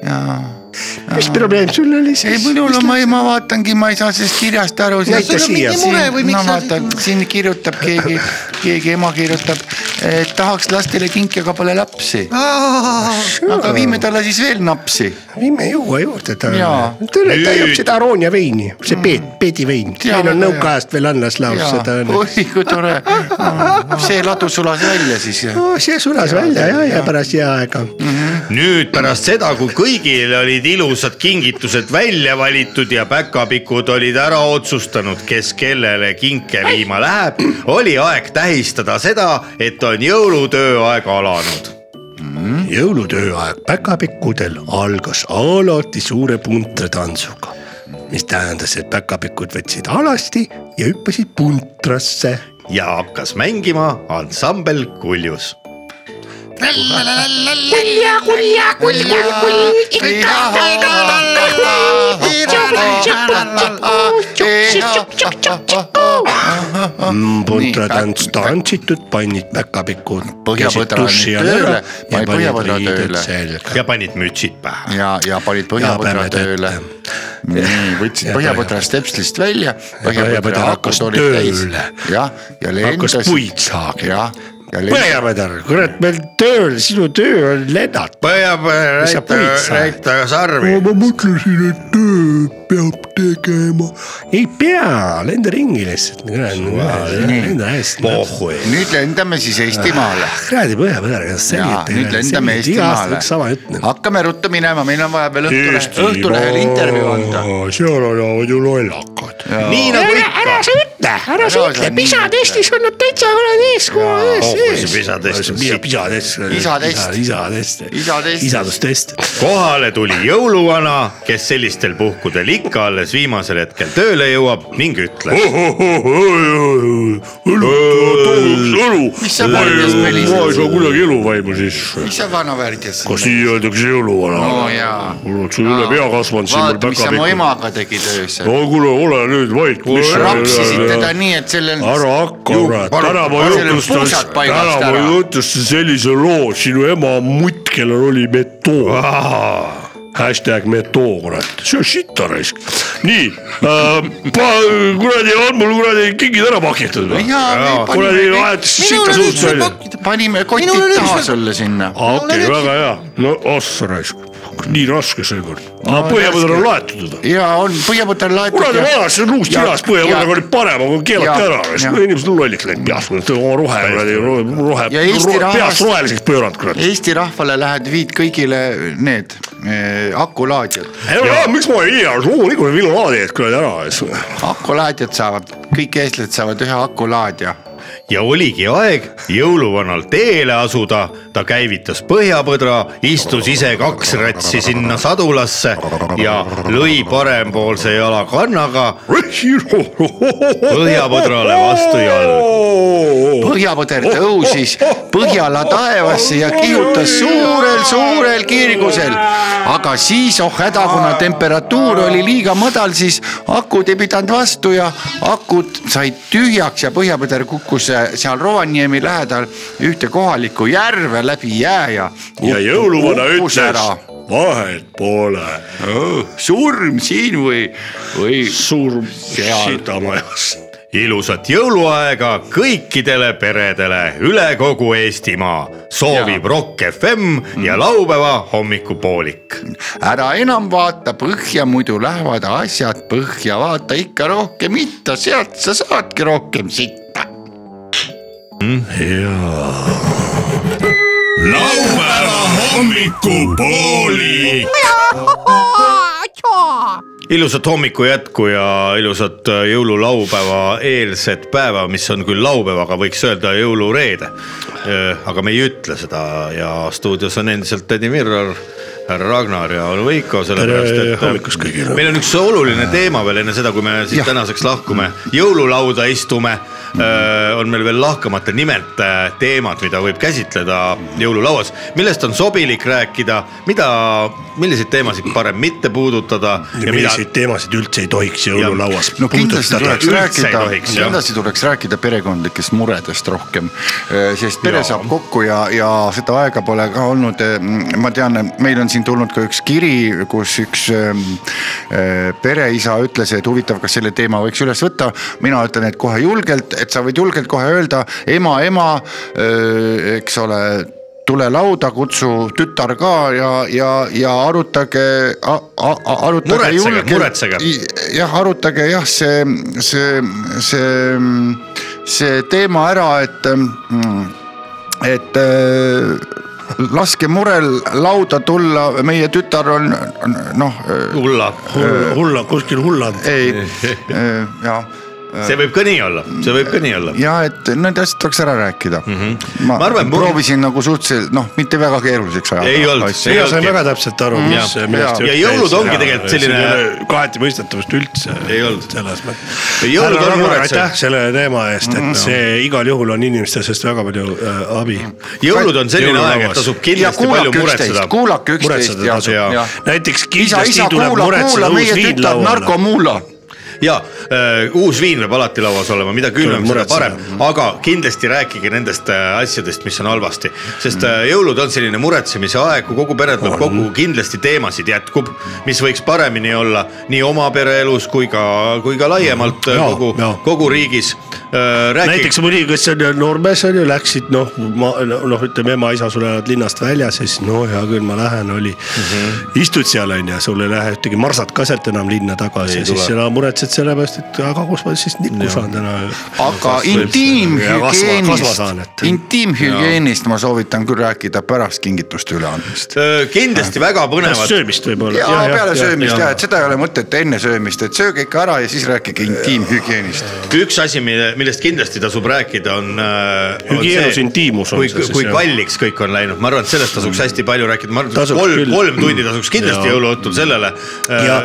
jaa .
mis probleem sul oli
ei ,
siis ?
minul on , ma ei , ma vaatangi , ma ei saa sellest kirjast aru .
Näita siia.
no vaata , siin kirjutab keegi , keegi ema kirjutab , et tahaks lastele kinki , aga pole lapsi . aga viime talle siis veel napsi .
viime juua juurde talle
Jaa. .
tule , ta joob seda Aroonia veini , see peet , peedivein ,
Jaa,
meil on
väga
nõukaajast veel alles laos seda . noh.
oi kui tore , see ladu sulas välja siis .
see sulas välja ja , ja pärast jääaega .
nüüd pärast seda , kui kõigil olid ilusad kingitused välja valitud ja päkapikud olid ära otsustanud , kes kellele kinke viima läheb , oli aeg tähistada seda , et on jõulutööaeg alanud
jõulutööaeg päkapikkudel algas alati suure puntratantsuga , mis tähendas , et päkapikud võtsid alasti ja hüppasid puntrasse .
ja hakkas mängima ansambel Kuljus .
kulja , kulja , kulja , kulja , ikka , ikka ,
puntratants tantsitud , pannid päkapikud .
Põhjapõdra nüüd tööle, pani põhjapõdra tööle.
ja panid mütsid pähe .
ja , ja panid põhjapõdra tööle . nii , võtsid
Ja
põhjapõdra stepslist välja .
põhjapõdra hakkas tööle.
jah , ja lendas .
hakkas puid saagi.
jah , ja lendas .
põhjapõder , kurat , meil tööl , sinu töö on lennata .
pöiab ,
Mis sa puid
näita ,
saad?
näita sarvi .
ma mõtlesin , et töö peab tegema . ei pea , lenda ringi lihtsalt .
Pohhui. nüüd lendame siis Eestimaale .
kuradi põhjapõder , kas
jaa ,
selgite
nüüd lendame Eestimaale .
sama jutt .
hakkame ruttu minema , meil on vaja veel Õhtulehe , Õhtulehele intervjuu anda .
seal olevad ju lollakad .
nii nagu
ära , ära sa ütle , ära sa
Ära sa
ütle ,
nii
pisad
ütle.
Eestis on nad täitsa kuradi eeskuju
Oh,
ees , ees .
pisatest .
pisatest .
Isatest.
isadest .
Isadest.
isadustest .
kohale tuli jõuluvana , kes sellistel puhkudel ikka alles viimasel hetkel tööle jõuab ning ütles .
mis sa värdjas
ma ei
välised ,
saa kunagi eluvaimu sisse .
mis sa vana värdjas ?
kas nii öeldakse jõuluvana ?
no jaa .
mul on sul üle pea kasvanud siin mul
vaata , mis sa mu
päkapikku .
emaga tegid öösel .
no kuule , ole nüüd vait .
rapsisid teda nii , et sellel .
ära hakka , kurat , täna ma jutustan , täna ma jutustan sellise loo , sinu ema mutt , kellel oli metoo . Hashtag metoo , kurat , see on sitta raisk . nii äh, , kuradi , on mul kuradi kingid ära pakitud või ?
jaa ,
kuradi , aetakse sitta suust välja .
panime kotid taha sulle sinna .
okei , väga hea , no ossa raisk , nii raske seekord . aga põhjapõder on laetud ju ta .
jaa , on põhjapõter
kuradi
laetud .
vanas , see on luust
Ja-
üles , põhjapõder
ja-
oli parem , aga keelati
ja-
ära ,
ja-
inimesed on lolliks läinud peast , oma rohe , kuradi rohe , rohe
Ja , Eesti rahvas-
peast roheliseks pööranud , kurat .
Eesti rahvale lähed , viid kõigile need eh, akulaadjad ,
ei no jaa , miks ma ei tea , loomulikult Villu Laadi jäid kuradi ära , eks .
akulaadjad saavad , kõik eestlased saavad ühe akulaadja .
ja oligi aeg jõuluvanal teele asuda , ta käivitas põhjapõdra , istus ise kaks ratsi sinna sadulasse ja lõi parempoolse jala kannaga põhjapõdrale vastu jalgu .
jalgu .
põhjapõder tõusis Põhjala taevasse ja kihutas suurel-suurel kiirgusel . aga siis oh häda , kuna temperatuur oli liiga madal , siis akud ei pidanud vastu ja akud said tühjaks ja põhjapõder kukkus seal Rovaniemi lähedal ühte kohalikku järve läbi jää ja .
ja jõuluvana ütles , vahet pole ,
surm siin või , või
surm sitamajas .
ilusat jõuluaega kõikidele peredele üle kogu Eestimaa , soovib Rock FM
Mm.
ja laupäeva hommikupoolik .
ära enam vaata põhja , muidu lähevad asjad põhja , vaata ikka rohkem itta , sealt sa saadki rohkem sitta .
laupäeva hommikupoolik .
ilusat hommiku jätku ja ilusat äh, jõululaupäeva eelset päeva , mis on küll laupäev , aga võiks öelda jõulureede . aga me ei ütle seda ja stuudios on endiselt Tõni Mirror , härra Ragnar ja onu Veiko , sellepärast et
Tere
äh,
hommikust kõigile.
meil on üks oluline teema veel enne seda , kui me siit tänaseks lahkume , jõululauda istume . on meil veel lahkamata nimelt äh, teemad , mida võib käsitleda jõululauas , millest on sobilik rääkida , mida , milliseid teemasid parem mitte puudutada ja mida
milliseid teemasid üldse ei tohiks jõululauas
no kindlasti tuleks
üldse ei
rääkida ,
tohiks, jah.
kindlasti tuleks rääkida perekondlikest muredest rohkem , sest pere saab kokku ja , ja seda aega pole ka olnud . ma tean , meil on siin tulnud ka üks kiri , kus üks ähm, äh, pereisa ütles , et huvitav , kas selle teema võiks üles võtta . mina ütlen , et kohe julgelt , et sa võid julgelt kohe öelda ema , ema , eks ole tule lauda , kutsu tütar ka ja , ja , ja arutage , arutage
Muretsege, muretsege.
I- jah , arutage jah , see , see , see , see teema ära , et , et äh, laske murel lauda tulla , meie tütar on noh ,
tulla ,
hulla , hulla , kuskil hulland .
ei ja ,
see võib ka nii olla , see võib ka nii olla .
Äh. ja et need asjad tuleks ära rääkida mm . -hmm. ma,
Mhm. Ma
ma
arvan,
arvan,
mul-
proovisin nagu suhteliselt noh , mitte väga keeruliseks ajada .
Ei olnud, ei
mina
olnud.
sain väga täpselt aru , mis
Jaa. ,
millest
Ja jõulud ongi tegelikult selline-
kaheti mõistetavust üldse .
Ei olnud.
selles mõttes .
Jõulud on Mm-hmm. muretsev.
aitäh selle teema eest , et see igal juhul on inimeste seest väga palju äh, abi .
jõulud on selline aeg , et tasub
ja
kindlasti palju
kuulake üksteist
muretseda ,.
kuulake üksteist
muretseda
ja ,
tasub
ja .
näiteks
isa ,
kindlasti
isa ,
tuleb
kuula , kuula
muretseda uus
meie
viin
tütar
lauale .
narkomuula .
ja äh, uus viin peab alati lauas olema , mida külmem , seda parem , aga kindlasti rääkige nendest äh, asjadest , mis on halvasti ,
Mm.
sest äh, jõulud on selline muretsemise aeg , kui kogu pere tuleb kokku , kindlasti teemasid jätkub , mis võiks paremini olla nii oma pereelus kui ka , kui ka laiemalt ja,
Mm. Jaa,
kogu
jaa. ,
kogu riigis . Äh,
näiteks mõni , kes on Normes on ju , läksid noh , ma noh , ütleme ema-isa sul elavad linnast väljas ja siis no hea küll , ma lähen , oli mm . -hmm. istud seal on ju , sul ei lähe ühtegi marsat ka sealt enam linna tagasi
Ei
ja siis
tule.
sina muretsed selle pärast , et aga kus ma siis nikku saan täna .
aga intiimhügieenist , intiimhügieenist ma soovitan küll rääkida pärast kingituste üleandmist .
äh, kindlasti väga põnevad .
söömist võib-olla .
ja peale söömist ja , et seda ei ole mõtet enne söömist , et sööge ikka ära ja siis rääkige intiimhügieenist .
üks asi , mille , millest kindlasti tasub rääkida , on .
Hügieenus intiimus on
kui,
see siis,
kui
jah.
kalliks kõik on läinud , ma arvan , et sellest tasuks hästi palju rääkida , ma arvan , et
Tasub
kolm ,
küll.
kolm tundi tasuks kindlasti
Jaa.
jõuluõhtul sellele . Äh,
ja ,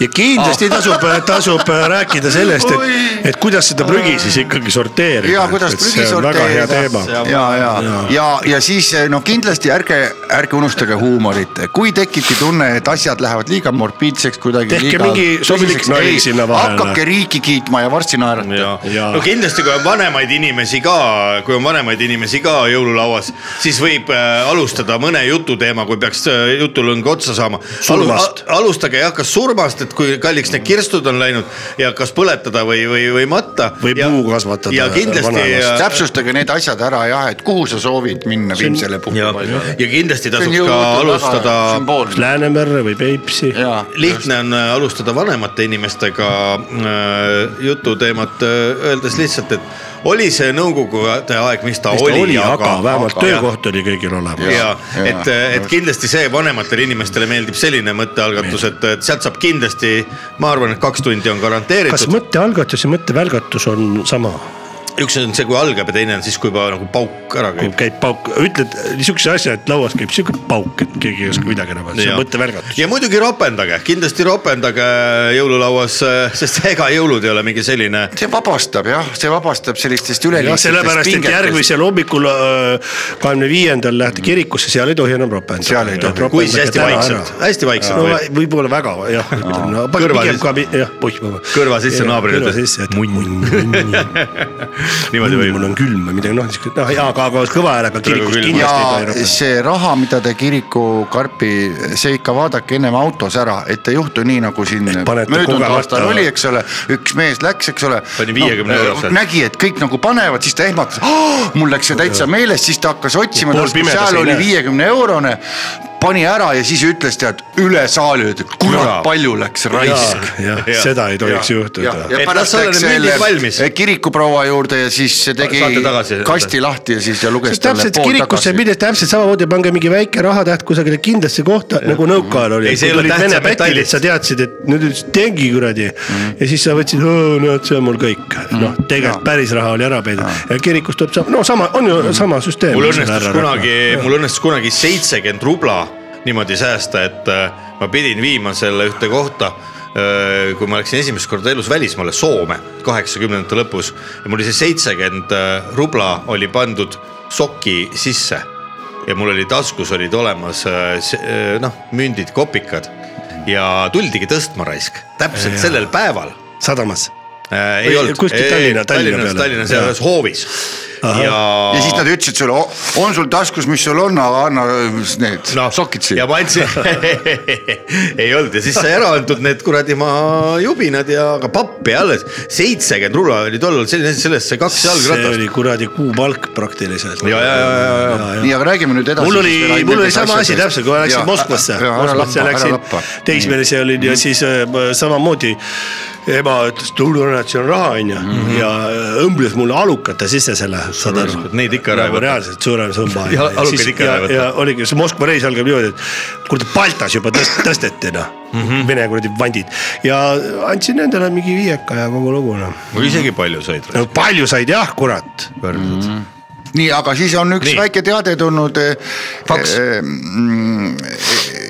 ja kindlasti tasub , tasub äh, rääkida sellest , et , et kuidas seda prügi siis ikkagi sorteerida .
ja kuidas prügi sorteerida ja , ja , ja , ja siis noh , kindlasti ärge , ärge unustage huumorit , kui tekibki tunne , et asjad lähevad liiga morbiidseks kuidagi .
Tehke mingi sobilik nali sinna vahele.
hakake riiki kiitma ja varsti naerate .
ja
no kindlasti , kui on vanemaid inimesi ka , kui on vanemaid inimesi ka jõululauas , siis võib äh, alustada mõne jututeema , kui peaks äh, jutulõng otsa saama .
Surmast.
alustage jah , kas surmast , et kui kalliks need kirstud on läinud ja kas põletada või , või , või matta .
või puu kasvatada .
ja kindlasti . äh,
täpsustage need asjad ära jah , et kuhu sa soovid minna viimsele puhkupaigale .
ja kindlasti
See on
tasub ka
jõuluõhtul väga
alustada ,
sümboolne.
Läänemerre või Peipsi .
lihtne on äh, alustada vanemate inimestega äh, jututeemat , öeldes lihtsalt , et oli see nõukogude aeg , mis ta
mis ta
oli,
oli , aga vähemalt
aga-
töökoht oli kõigil olemas .
ja et , et kindlasti see vanematele inimestele meeldib selline mõttealgatus , et , et sealt saab kindlasti , ma arvan , et kaks tundi on
kas
garanteeritud .
mõttealgatus ja mõttevälgatus on sama ?
üks on see , kui algab ja teine on siis , kui juba nagu pauk ära
kui
käib .
käib pauk , ütled niisuguse asja , et lauas käib siuke pauk , et keegi ei oska midagi enam , see
Jah.
on mõttevälgatus .
ja muidugi ropendage , kindlasti ropendage jõululauas , sest ega jõulud ei ole mingi selline .
see vabastab jah , see vabastab sellistest
jah ,
üleliigsetest
sellepärast , et järgmisel hommikul äh, kahekümne viiendal lähete kirikusse , seal ei tohi enam ropendada .
Seal ei tohi.
Kui siis hästi vaikselt, hästi vaikselt
no,
võib. .
võib-olla väga jah , ütleme no, ,
Kõrva
pigem
sisse.
ka , jah , poih , vabandust .
kõrva sisse naabrile
kõrva
ütled
sisse , et munn , munn , munn ,
niimoodi võib .
mul on külm või midagi noh , niisugune , noh jaa , aga , aga kõva häälega kirikus
külm.
kindlasti ei tohi
ja
ropendada .
see raha , mida te kirikukarpi , see ikka vaadake ennem autos ära , et ei juhtu nii , nagu siin
panete
möödunud
kogemata-
aastal oli , eks ole , üks mees läks , eks ole .
Pani 50 eurose.
nägi , et kõik nagu panevad , siis ta ehmatas , mul läks see täitsa meelest , siis ta hakkas otsima ,
Pool pimedas
seal
ei
oli
näe.
viiekümne eurone pani ära ja siis ütles tead üle saali , et kurat , palju läks raisk .
jah , seda ei tohiks juhtuda .
Et las olla need mündid valmis.
eh, kirikuproua juurde ja siis see
Saate
tegi
tagasi.
kasti lahti ja siis ja luges
see täpselt kirikusse minnes täpselt samamoodi pange mingi väike rahatäht kusagile kindlasse kohta nagu nõukaajal oli .
Ei, see ei ole tähtsad metallid.
sa teadsid , et nüüd ütlesid tengi kuradi
Mhm.
ja siis sa võtsid , näed , see on mul kõik . noh , tegelikult päris raha oli ära peidetud ja kirikus tuleb sama , no sama , on ju sama süsteem .
Mhm. mul õnnestus kunagi , mul õnnestus kunagi seitsekümmend rubla niimoodi säästa , et äh, ma pidin viima selle ühte kohta , kui ma läksin esimest korda elus välismaale , Soome , kaheksakümnendate lõpus ja mul oli see seitsekümmend äh, rubla oli pandud soki sisse ja mul oli taskus olid olemas äh, se- äh, noh , mündid , kopikad ja tuldigi tõstma raisk täpselt sellel päeval
sadamas .
Äh, ei
Või
olnud ,
kuskil Tallinna- Tallinna
Tallinnas ,
peale.
Tallinnas ja
Jaa.
ühes hoovis ja .
ja siis nad ütlesid sulle , on sul taskus , mis sul on , aga anna eh, need
Noh.
no. sokid
ja
siia .
ma andsin , Noh. ei olnud ja siis sai ära antud need kuradi maa jubinad ja ka pappi alles , seitsekümmend rula oli tollal selline , sellesse kaks
see
jalgratast .
oli kuradi kuupalk praktiliselt .
ja , ja , ja , ja , ja ,
nii , aga räägime nüüd edasi .
mul oli , mul oli sama asi täpselt , kui ma läksin Moskvasse , Moskvasse läksin , teismelise olin ja siis äh, ma samamoodi ema ütles , tule näed , siin on raha , onju , ja õmbles mulle alukate sisse selle , saad aru .
neid ikka ära ei
nagu
võta.
reaalselt suurem sõmba .
Ja alukaid ikka ära ei võta.
ja oligi , see Moskva reis algab niimoodi , et kuule Baltas juba tõst- , tõsteti noh mm
Mhm.
-hmm. , vene kuradi vandid ja andsin nendele mingi viieka ja kogu lugu noh .
või isegi palju said .
no palju said jah , kurat .
nii , aga siis on üks
Nii.
nii. väike teade tulnud . eh,
Faks.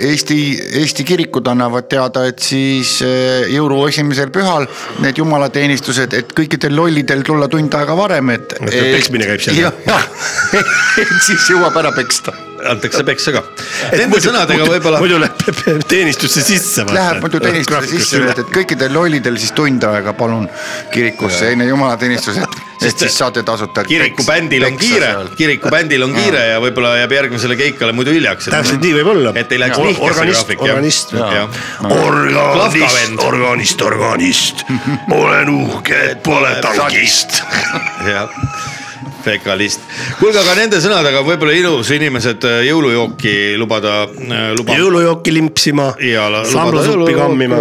Eesti , Eesti kirikud annavad teada , et siis eh, jõulu esimesel pühal need jumalateenistused , et kõikidel lollidel tulla tund aega varem , et .
peksmine käib seal.
jah , et siis jõuab ära peksta .
antakse peksa ka. Nende sõnadega võib-olla.
muidu läheb teenistusse sisse.
Läheb muidu teenistusse sisse, et kõikidel lollidel siis tund aega palun kirikusse enne jumalateenistuse, et siis saate tasuta.
kirikubändil on kiire, kirikubändil on kiire ja võib-olla jääb järgmisele keikale muidu hiljaks.
täpselt nii võib olla.
et ei läheks nihkesse
graafik.
organist,
organist,
organist, organist, olen uhke, et pole tankist.
jah fekalist. kuulge, aga nende sõnadega võib-olla ilus inimesed äh, jõulujooki lubada, äh, lubada.
jõulujooki limpsima. samblasuppi kammima.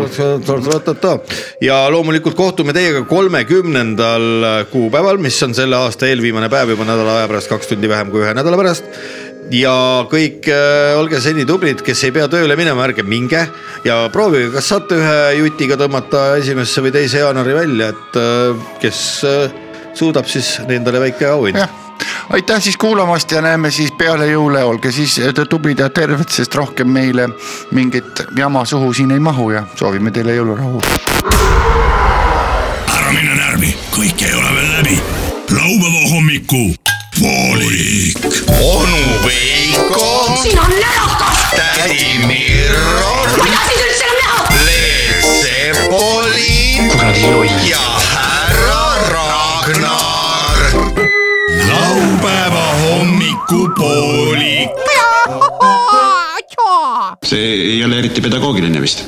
ja loomulikult kohtume teiega kolmekümnendal kuupäeval, mis on selle aasta eelviimane päev juba nädala aja pärast, kaks tundi vähem kui ühe nädala pärast ja kõik äh, olge seni tublid, kes ei pea tööle minema, ärge minge ja proovige, kas saate ühe jutiga tõmmata esimesse või teise jaanuari välja, et äh, kes äh, suudab, siis endale väike auhind.
aitäh siis kuulamast ja näeme siis peale jõule, olge siis eh, tublid ja terved, sest rohkem meile mingit jama suhu siin ei mahu ja soovime teile jõulurahu.
ära mine närvi, kõik ei ole veel läbi. laupäeva hommiku poolik.
onu Veiko.
sina närakas ,
tädi Mirro ,
kuidas sind üldse enam näha ,
Leet Sepolin ja härra Ragnar . laupäeva hommikupoolik .
see ei ole eriti pedagoogiline vist